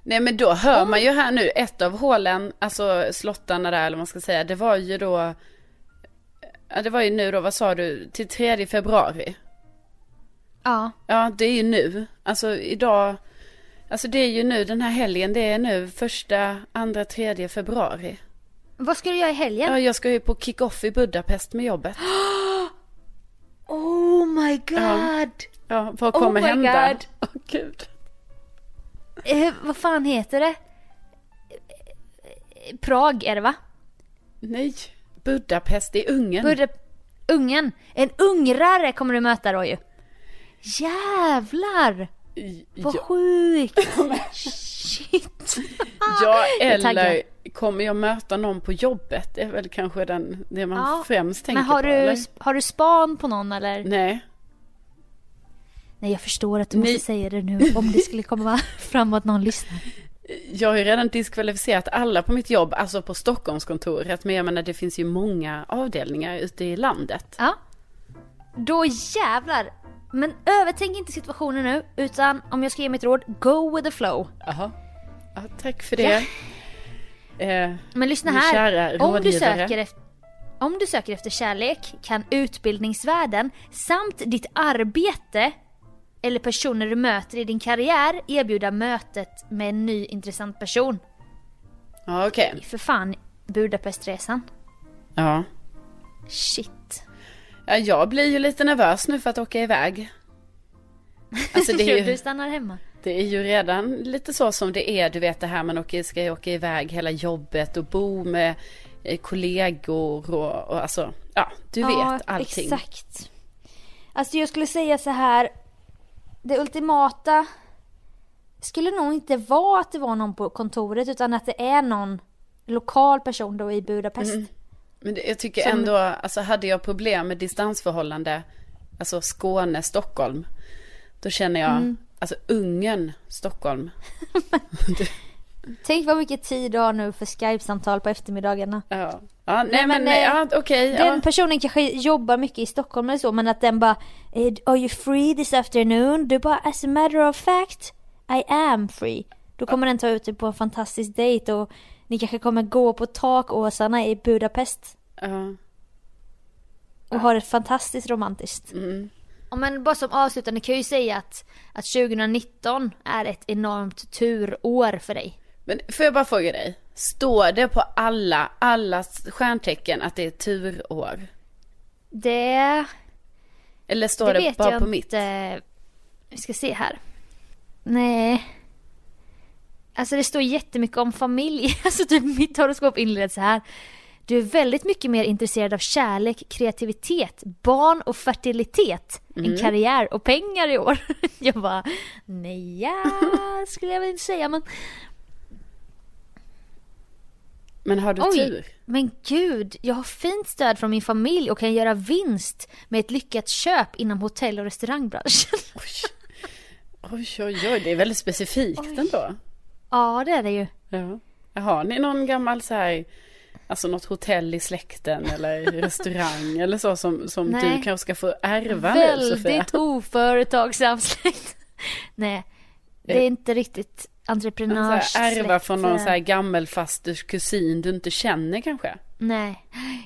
Speaker 6: Nej men då hör man ju här nu, ett av hålen, alltså slottarna där eller vad man ska säga, det var ju då, ja det var ju nu då, vad sa du, till 3 februari.
Speaker 5: Ja.
Speaker 6: Ja, det är ju nu. Alltså idag, alltså det är ju nu den här helgen, det är nu första, andra, tredje februari.
Speaker 5: Vad ska du göra i helgen?
Speaker 6: Ja, jag ska ju på kick-off i Budapest med jobbet.
Speaker 5: Oh my god!
Speaker 6: Ja, vad
Speaker 5: Oh
Speaker 6: kommer
Speaker 5: my
Speaker 6: hända?
Speaker 5: God.
Speaker 6: Åh gud.
Speaker 5: Eh, vad fan heter det? Eh, Prag är det va?
Speaker 6: Nej, Budapest i Ungern.
Speaker 5: Budde... Ungern. En ungrare kommer du möta då ju. Jävlar!
Speaker 6: I-
Speaker 5: Vad
Speaker 6: ja,
Speaker 5: sjukt! Shit!
Speaker 6: ja,
Speaker 5: Jag är taggad.
Speaker 6: eller kommer jag möta någon på jobbet? Det är väl kanske den, det man
Speaker 5: Ja,
Speaker 6: främst tänker
Speaker 5: Men har
Speaker 6: på.
Speaker 5: du,
Speaker 6: eller?
Speaker 5: har du span på någon eller?
Speaker 6: Nej.
Speaker 5: Nej jag förstår att du måste
Speaker 6: Ni-
Speaker 5: säga det nu om det skulle komma fram att någon lyssnar.
Speaker 6: Jag har ju redan diskvalificerat alla på mitt jobb, alltså på Stockholmskontoret. Men jag menar, det finns ju många avdelningar ute i landet.
Speaker 5: Ja. Då jävlar! Men övertänk inte situationen nu utan om jag ska ge mitt råd, go with the flow.
Speaker 6: Jaha. Ja, tack för det. Eh,
Speaker 5: Men lyssna
Speaker 6: Min
Speaker 5: här.
Speaker 6: kära
Speaker 5: Om du,
Speaker 6: rådgivare.
Speaker 5: söker efter, om du söker efter kärlek kan utbildningsvärlden samt ditt arbete eller personer du möter i din karriär erbjuda mötet med en ny intressant person.
Speaker 6: ja, okej.
Speaker 5: För fan, Budapestresan.
Speaker 6: Ja.
Speaker 5: Shit.
Speaker 6: ja. Jag blir ju lite nervös nu för att åka iväg. Alltså det är
Speaker 5: du
Speaker 6: ju,
Speaker 5: stannar hemma.
Speaker 6: det är ju redan lite så som det är, du vet det här man åker, ska åka iväg hela jobbet och bo med eh, kollegor och, och alltså, ja, du vet allting.
Speaker 5: Exakt. Alltså jag skulle säga så här. Det ultimata skulle nog inte vara att det var någon på kontoret utan att det är någon lokal person då i Budapest.
Speaker 6: Mm. Men det, jag tycker ändå, alltså hade jag problem med distansförhållande, alltså Skåne, Stockholm, då känner jag,
Speaker 5: Mm.
Speaker 6: alltså Ungern, Stockholm,
Speaker 5: Tänk vad mycket tid du har nu för Skype-samtal på eftermiddagarna.
Speaker 6: Ja, ja nej,
Speaker 5: Nej, men,
Speaker 6: men, nej,
Speaker 5: eh,
Speaker 6: ja, okej.
Speaker 5: Den
Speaker 6: ja.
Speaker 5: personen kanske jobbar mycket i Stockholm eller så men att den bara eh, Are you free this afternoon? Du bara as a matter of fact I am free. Då kommer den ta ut dig på en fantastisk dejt och ni kanske kommer gå på takåsarna i Budapest
Speaker 6: ja.
Speaker 5: och ha det fantastiskt romantiskt. Ja, men bara som avslutande kan jag ju säga att, att 2019 är ett enormt turår för dig.
Speaker 6: Men får jag bara fråga dig, står det på alla, alla stjärntecken att det är turår?
Speaker 5: Det,
Speaker 6: Eller står
Speaker 5: det
Speaker 6: det,
Speaker 5: vet
Speaker 6: bara
Speaker 5: jag
Speaker 6: på mitt?
Speaker 5: inte. Vi ska se här. Nej. Alltså det står jättemycket om familj. Alltså typ mitt horoskop inleds så här. Du är väldigt mycket mer intresserad av kärlek, kreativitet, barn och fertilitet
Speaker 6: Mm.
Speaker 5: än karriär och pengar i år. Jag bara, nej, skulle jag väl inte säga men
Speaker 6: Men har du
Speaker 5: Oj,
Speaker 6: tur?
Speaker 5: men gud, jag har fint stöd från min familj och kan göra vinst med ett lyckat köp inom hotell och restaurangbranschen.
Speaker 6: Oj, oj, oj. Det är väldigt specifikt ändå.
Speaker 5: ja, det är det ju.
Speaker 6: Ja. Har ni någon gammal så här, alltså något hotell i släkten eller restaurang eller så som, som du
Speaker 5: Nej.
Speaker 6: kanske ska få ärva nu Sofia?
Speaker 5: Väldigt oföretagsam släkt. Nej, det är inte riktigt
Speaker 6: Så här,
Speaker 5: entreprenörssläkt.
Speaker 6: Eh. Ärva från någon så här gammelfasters kusin du inte känner kanske?
Speaker 5: Nej,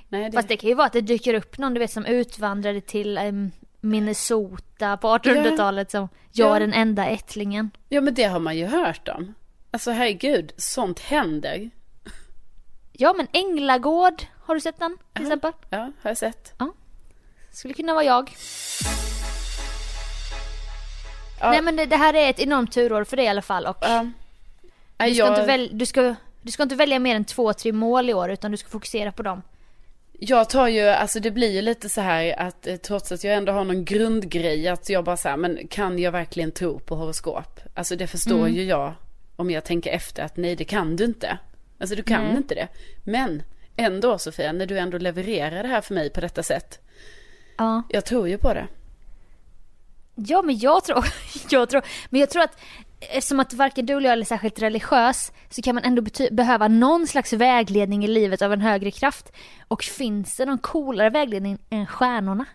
Speaker 6: Nej, det...
Speaker 5: fast det kan ju vara att det dyker upp någon du vet som utvandrade till em, Minnesota på 1800-talet som jag
Speaker 6: Ja.
Speaker 5: är den enda ättlingen.
Speaker 6: Ja, men det har man ju hört om. Alltså herregud, sånt händer.
Speaker 5: Ja men Änglagård, har du sett den till exempel?
Speaker 6: Ja, har jag sett.
Speaker 5: Skulle kunna vara jag.
Speaker 6: Ja.
Speaker 5: Nej men det, det här är ett enormt turår för dig i alla fall och
Speaker 6: Ja.
Speaker 5: du,
Speaker 6: Nej,
Speaker 5: ska
Speaker 6: jag,
Speaker 5: inte väl, du, ska, du ska inte välja mer än två, tre mål i år utan du ska fokusera på dem.
Speaker 6: jag tar ju, alltså det blir ju lite så här att eh, trots att jag ändå har någon grundgrej att jag bara så här, men kan jag verkligen tro på horoskop? Alltså det förstår ju jag om jag tänker efter att nej det kan du inte. Alltså du kan inte det. Men ändå Sofia, när du ändå levererar det här för mig på detta sätt.
Speaker 5: Ja.
Speaker 6: Jag tror ju på det.
Speaker 5: Ja, men jag tror, jag tror, men jag tror att eftersom att varken du eller jag är särskilt religiös så kan man ändå bety- behöva någon slags vägledning i livet av en högre kraft. Och finns det någon coolare vägledning än stjärnorna?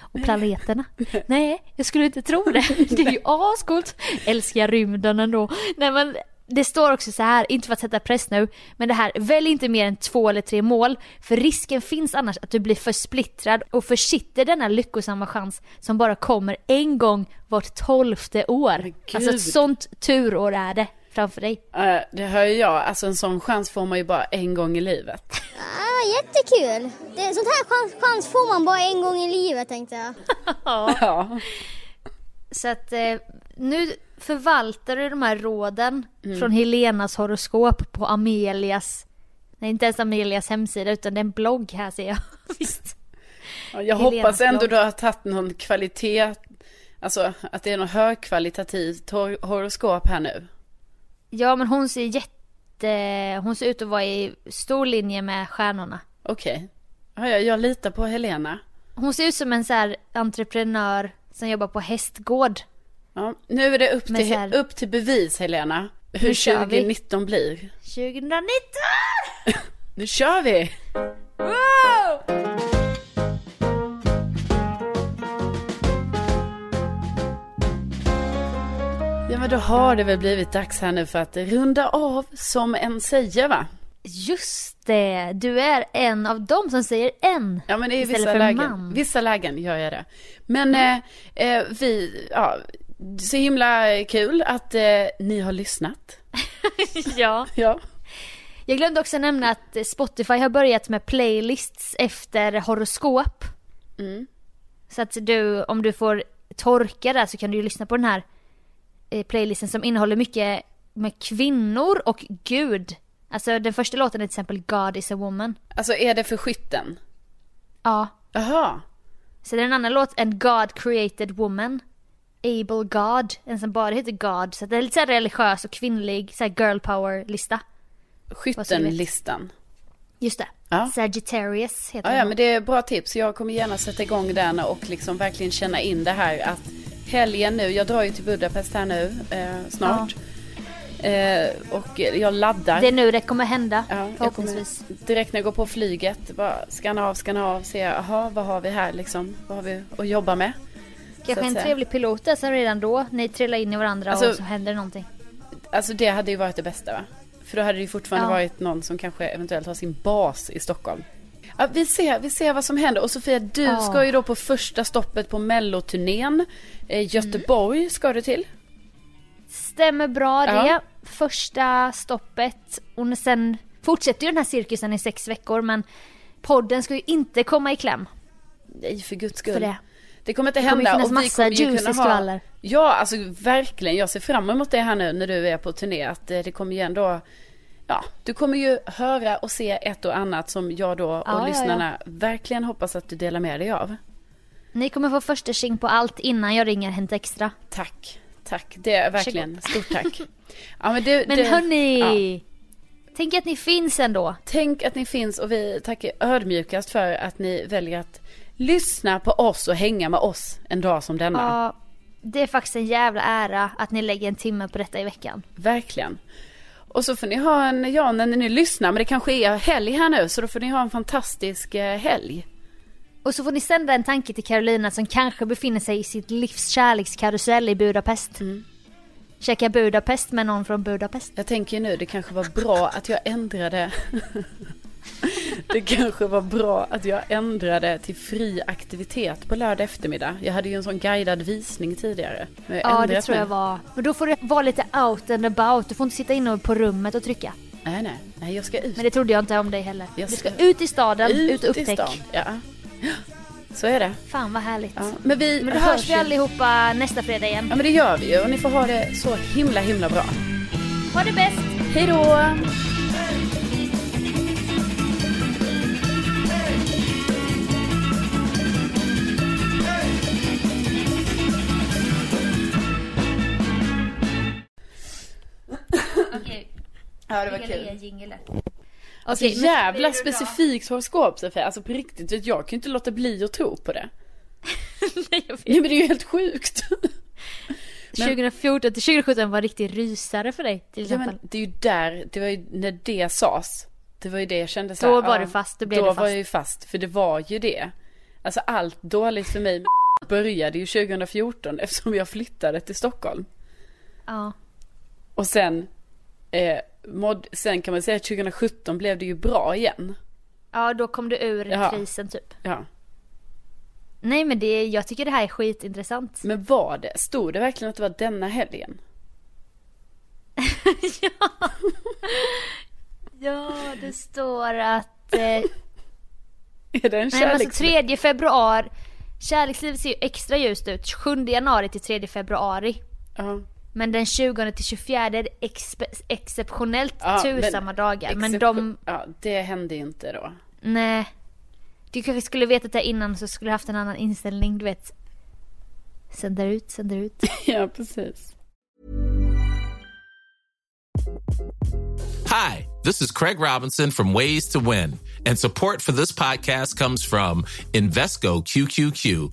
Speaker 5: Och planeterna? Nej, jag skulle inte tro det. Det är ju ascoolt. Älskar jag rymden ändå. Nej men det står också så här, inte för att sätta press nu, men det här, välj inte mer än två eller tre mål, för risken finns annars att du blir för splittrad och försitter denna lyckosamma chans som bara kommer en gång vart tolfte år.
Speaker 6: Men
Speaker 5: Alltså ett
Speaker 6: gud.
Speaker 5: sånt turår är det framför dig.
Speaker 6: Eh, Det hör ju jag, alltså en sån chans får man ju bara en gång i livet.
Speaker 7: Ah, jättekul! Det, sånt här chans, chans får man bara en gång i livet tänkte jag.
Speaker 6: Ja.
Speaker 5: Så att eh, nu förvaltar du de här råden
Speaker 6: Mm.
Speaker 5: från Helenas horoskop på Amelias, nej inte ens Amelias hemsida utan det är en blogg här ser jag. Visst.
Speaker 6: Ja, Jag
Speaker 5: Helenas
Speaker 6: hoppas ändå
Speaker 5: blogg.
Speaker 6: du har tagit någon kvalitet, alltså att det är något högkvalitativt hor- horoskop här nu.
Speaker 5: Ja men hon ser jätte, hon ser ut att vara i stor linje med stjärnorna.
Speaker 6: Okej. Ja, jag, jag litar på Helena.
Speaker 5: Hon ser ut som en så här entreprenör som jobbar på hästgård.
Speaker 6: Ja, nu är det upp
Speaker 5: Men
Speaker 6: till,
Speaker 5: så här-
Speaker 6: upp till bevis Helena,
Speaker 5: Nu
Speaker 6: hur
Speaker 5: kör vi.
Speaker 6: 2019 blir.
Speaker 5: 2019!
Speaker 6: Nu kör vi!
Speaker 5: Wow!
Speaker 6: Ja men då har det väl blivit dags här nu för att runda av som en säger va?
Speaker 5: Just det, du är en av dem som säger en.
Speaker 6: Ja men i
Speaker 5: Istället
Speaker 6: vissa
Speaker 5: för
Speaker 6: lägen,
Speaker 5: man. Mm.
Speaker 6: vissa lägen gör jag det. Men eh, eh, vi, ja, så himla kul att eh, ni har lyssnat.
Speaker 5: ja.
Speaker 6: Ja.
Speaker 5: Jag glömde också nämna att Spotify har börjat med playlists efter horoskop. Så att du, om du får torka där så kan du ju lyssna på den här eh, playlisten som innehåller mycket med kvinnor och Gud. Alltså den första låten är till exempel God is a woman.
Speaker 6: Alltså är det för skytten?
Speaker 5: Ja.
Speaker 6: Jaha.
Speaker 5: Så det är en annan låt, en God created woman. Able God, en som bara heter God. Så det är lite så här religiös och kvinnlig, så här girl power-lista.
Speaker 6: Skyttenlistan.
Speaker 5: Just det.
Speaker 6: Ja.
Speaker 5: Sagittarius heter
Speaker 6: Ja,
Speaker 5: den.
Speaker 6: ja, men det är bra tips. Jag kommer gärna sätta igång den och liksom verkligen känna in det här att helgen nu, jag drar ju till Budapest här nu eh, snart. Eh, och jag laddar.
Speaker 5: Det är nu det kommer hända,
Speaker 6: Ja, jag
Speaker 5: förhoppningsvis.
Speaker 6: kommer direkt när jag går på flyget, bara skanna av, skanna av, se, jaha, vad har vi här liksom? Vad har vi att jobba med? så
Speaker 5: Kanske
Speaker 6: att
Speaker 5: en
Speaker 6: säga.
Speaker 5: trevlig pilot där som redan då, ni trillar in i varandra och
Speaker 6: Alltså-
Speaker 5: så händer någonting.
Speaker 6: Alltså det hade ju varit det bästa va? För då hade det ju fortfarande
Speaker 5: Ja.
Speaker 6: varit någon som kanske eventuellt har sin bas i Stockholm. Ja, vi, ser, vi ser vad som händer. Och Sofia, du
Speaker 5: Ja.
Speaker 6: ska ju då på första stoppet på melloturnén. Eh, Göteborg ska du till.
Speaker 5: Stämmer bra det.
Speaker 6: Ja.
Speaker 5: Första stoppet och sen fortsätter ju den här cirkusen i sex veckor men podden ska ju inte komma i kläm.
Speaker 6: Nej, för guds skull.
Speaker 5: För det.
Speaker 6: Det kommer inte
Speaker 5: kommer ju
Speaker 6: hända.
Speaker 5: finnas
Speaker 6: och vi
Speaker 5: massa
Speaker 6: kommer ju
Speaker 5: juice
Speaker 6: kunna
Speaker 5: i
Speaker 6: ha-
Speaker 5: skvaller.
Speaker 6: Ja, alltså verkligen. Jag ser fram emot det här nu när du är på turné. Att eh, det kommer ju ändå... Ja, du kommer ju höra och se ett och annat som jag då och
Speaker 5: Ja, ja,
Speaker 6: lyssnarna verkligen hoppas att du delar med dig av.
Speaker 5: Ni kommer få första tjing på allt innan jag ringer Hänt Extra.
Speaker 6: Tack, tack. Det är verkligen stort tack. Ja, men du,
Speaker 5: Men
Speaker 6: du, ja.
Speaker 5: hörni! Tänk att ni finns ändå.
Speaker 6: Tänk att ni finns och vi tackar ödmjukast för att ni väljer att lyssna på oss och hänga med oss en dag som denna.
Speaker 5: Ja, det är faktiskt en jävla ära att ni lägger en timme på detta i veckan.
Speaker 6: Verkligen. Och så får ni ha en, ja när ni lyssnar, men det kanske är helg här nu, så då får ni ha en fantastisk eh, helg.
Speaker 5: Och så får ni sända en tanke till Carolina som kanske befinner sig i sitt livs kärlekskarusell i Budapest.
Speaker 6: Mm.
Speaker 5: Käka Budapest med någon från Budapest.
Speaker 6: Jag tänker ju nu, det kanske var bra att jag ändrade. det kanske var bra att jag ändrade till fri aktivitet på lördag eftermiddag. Jag hade ju en sån guidad visning tidigare. men jag har
Speaker 5: Ja, det
Speaker 6: ändrat
Speaker 5: tror jag
Speaker 6: nu.
Speaker 5: var. Men då får du vara lite out and about. Du får inte sitta inne på rummet och trycka.
Speaker 6: Nej, nej, nej, jag ska ut.
Speaker 5: Men det trodde jag inte om dig heller.
Speaker 6: Jag
Speaker 5: Du
Speaker 6: ska-
Speaker 5: ska ut i staden, ut och
Speaker 6: i
Speaker 5: upptäck.
Speaker 6: stan. Ja. Så är det.
Speaker 5: Fan vad härligt.
Speaker 6: Ja. Men vi
Speaker 5: Men då hörs vi
Speaker 6: ju.
Speaker 5: allihopa nästa fredag
Speaker 6: Ja,
Speaker 5: igen.
Speaker 6: men det gör vi ju. Och ni får ha det så himla, himla bra.
Speaker 5: Ha det bäst!
Speaker 6: Hej då! Ja, det var kul. Så
Speaker 5: Okej, men-
Speaker 6: jävla specifikt horoskop Sofia, alltså på riktigt, vet jag kan ju inte låta bli att tro på det.
Speaker 5: Nej, jag vet.
Speaker 6: Nej men det är ju helt sjukt.
Speaker 5: 2014 till 2017 var en riktig rysare för dig till
Speaker 6: Ja
Speaker 5: exempel.
Speaker 6: men det är ju där, det var ju när det sas. Det var ju det jag kände så
Speaker 5: Då
Speaker 6: här,
Speaker 5: var
Speaker 6: ja,
Speaker 5: du fast, då blev
Speaker 6: Då
Speaker 5: du fast.
Speaker 6: var jag ju fast, för det var ju det. Alltså allt dåligt för mig började ju 2014 eftersom jag flyttade till Stockholm.
Speaker 5: Ja.
Speaker 6: Och sen, eh, mod, sen kan man säga att 2017 blev det ju bra igen.
Speaker 5: ja, då kom du ur
Speaker 6: Jaha.
Speaker 5: krisen typ.
Speaker 6: Ja.
Speaker 5: Nej men det, jag tycker det här är skitintressant.
Speaker 6: Men var det, stod det verkligen att det var denna helgen?
Speaker 5: Ja, det står att... Eh, nej,
Speaker 6: Är det en
Speaker 5: men alltså
Speaker 6: kärleks...
Speaker 5: 3 februari. Kärlekslivet ser ju extra ljust ut. 7 januari till 3 februari.
Speaker 6: Ja.
Speaker 5: Men den 20 till 24 är det expe- exceptionellt
Speaker 6: Ja,
Speaker 5: tur
Speaker 6: Ah, men-
Speaker 5: samma dagar. Men
Speaker 6: exception-
Speaker 5: de,
Speaker 6: Ja, det hände ju inte då.
Speaker 5: nej. Du kanske skulle vetat det här innan så skulle du haft en annan inställning, du vet. Sänder ut, sänder ut.
Speaker 6: ja, precis.
Speaker 8: Hi, this is Craig Robinson from Ways to Win, and support for this podcast comes from Invesco QQQ,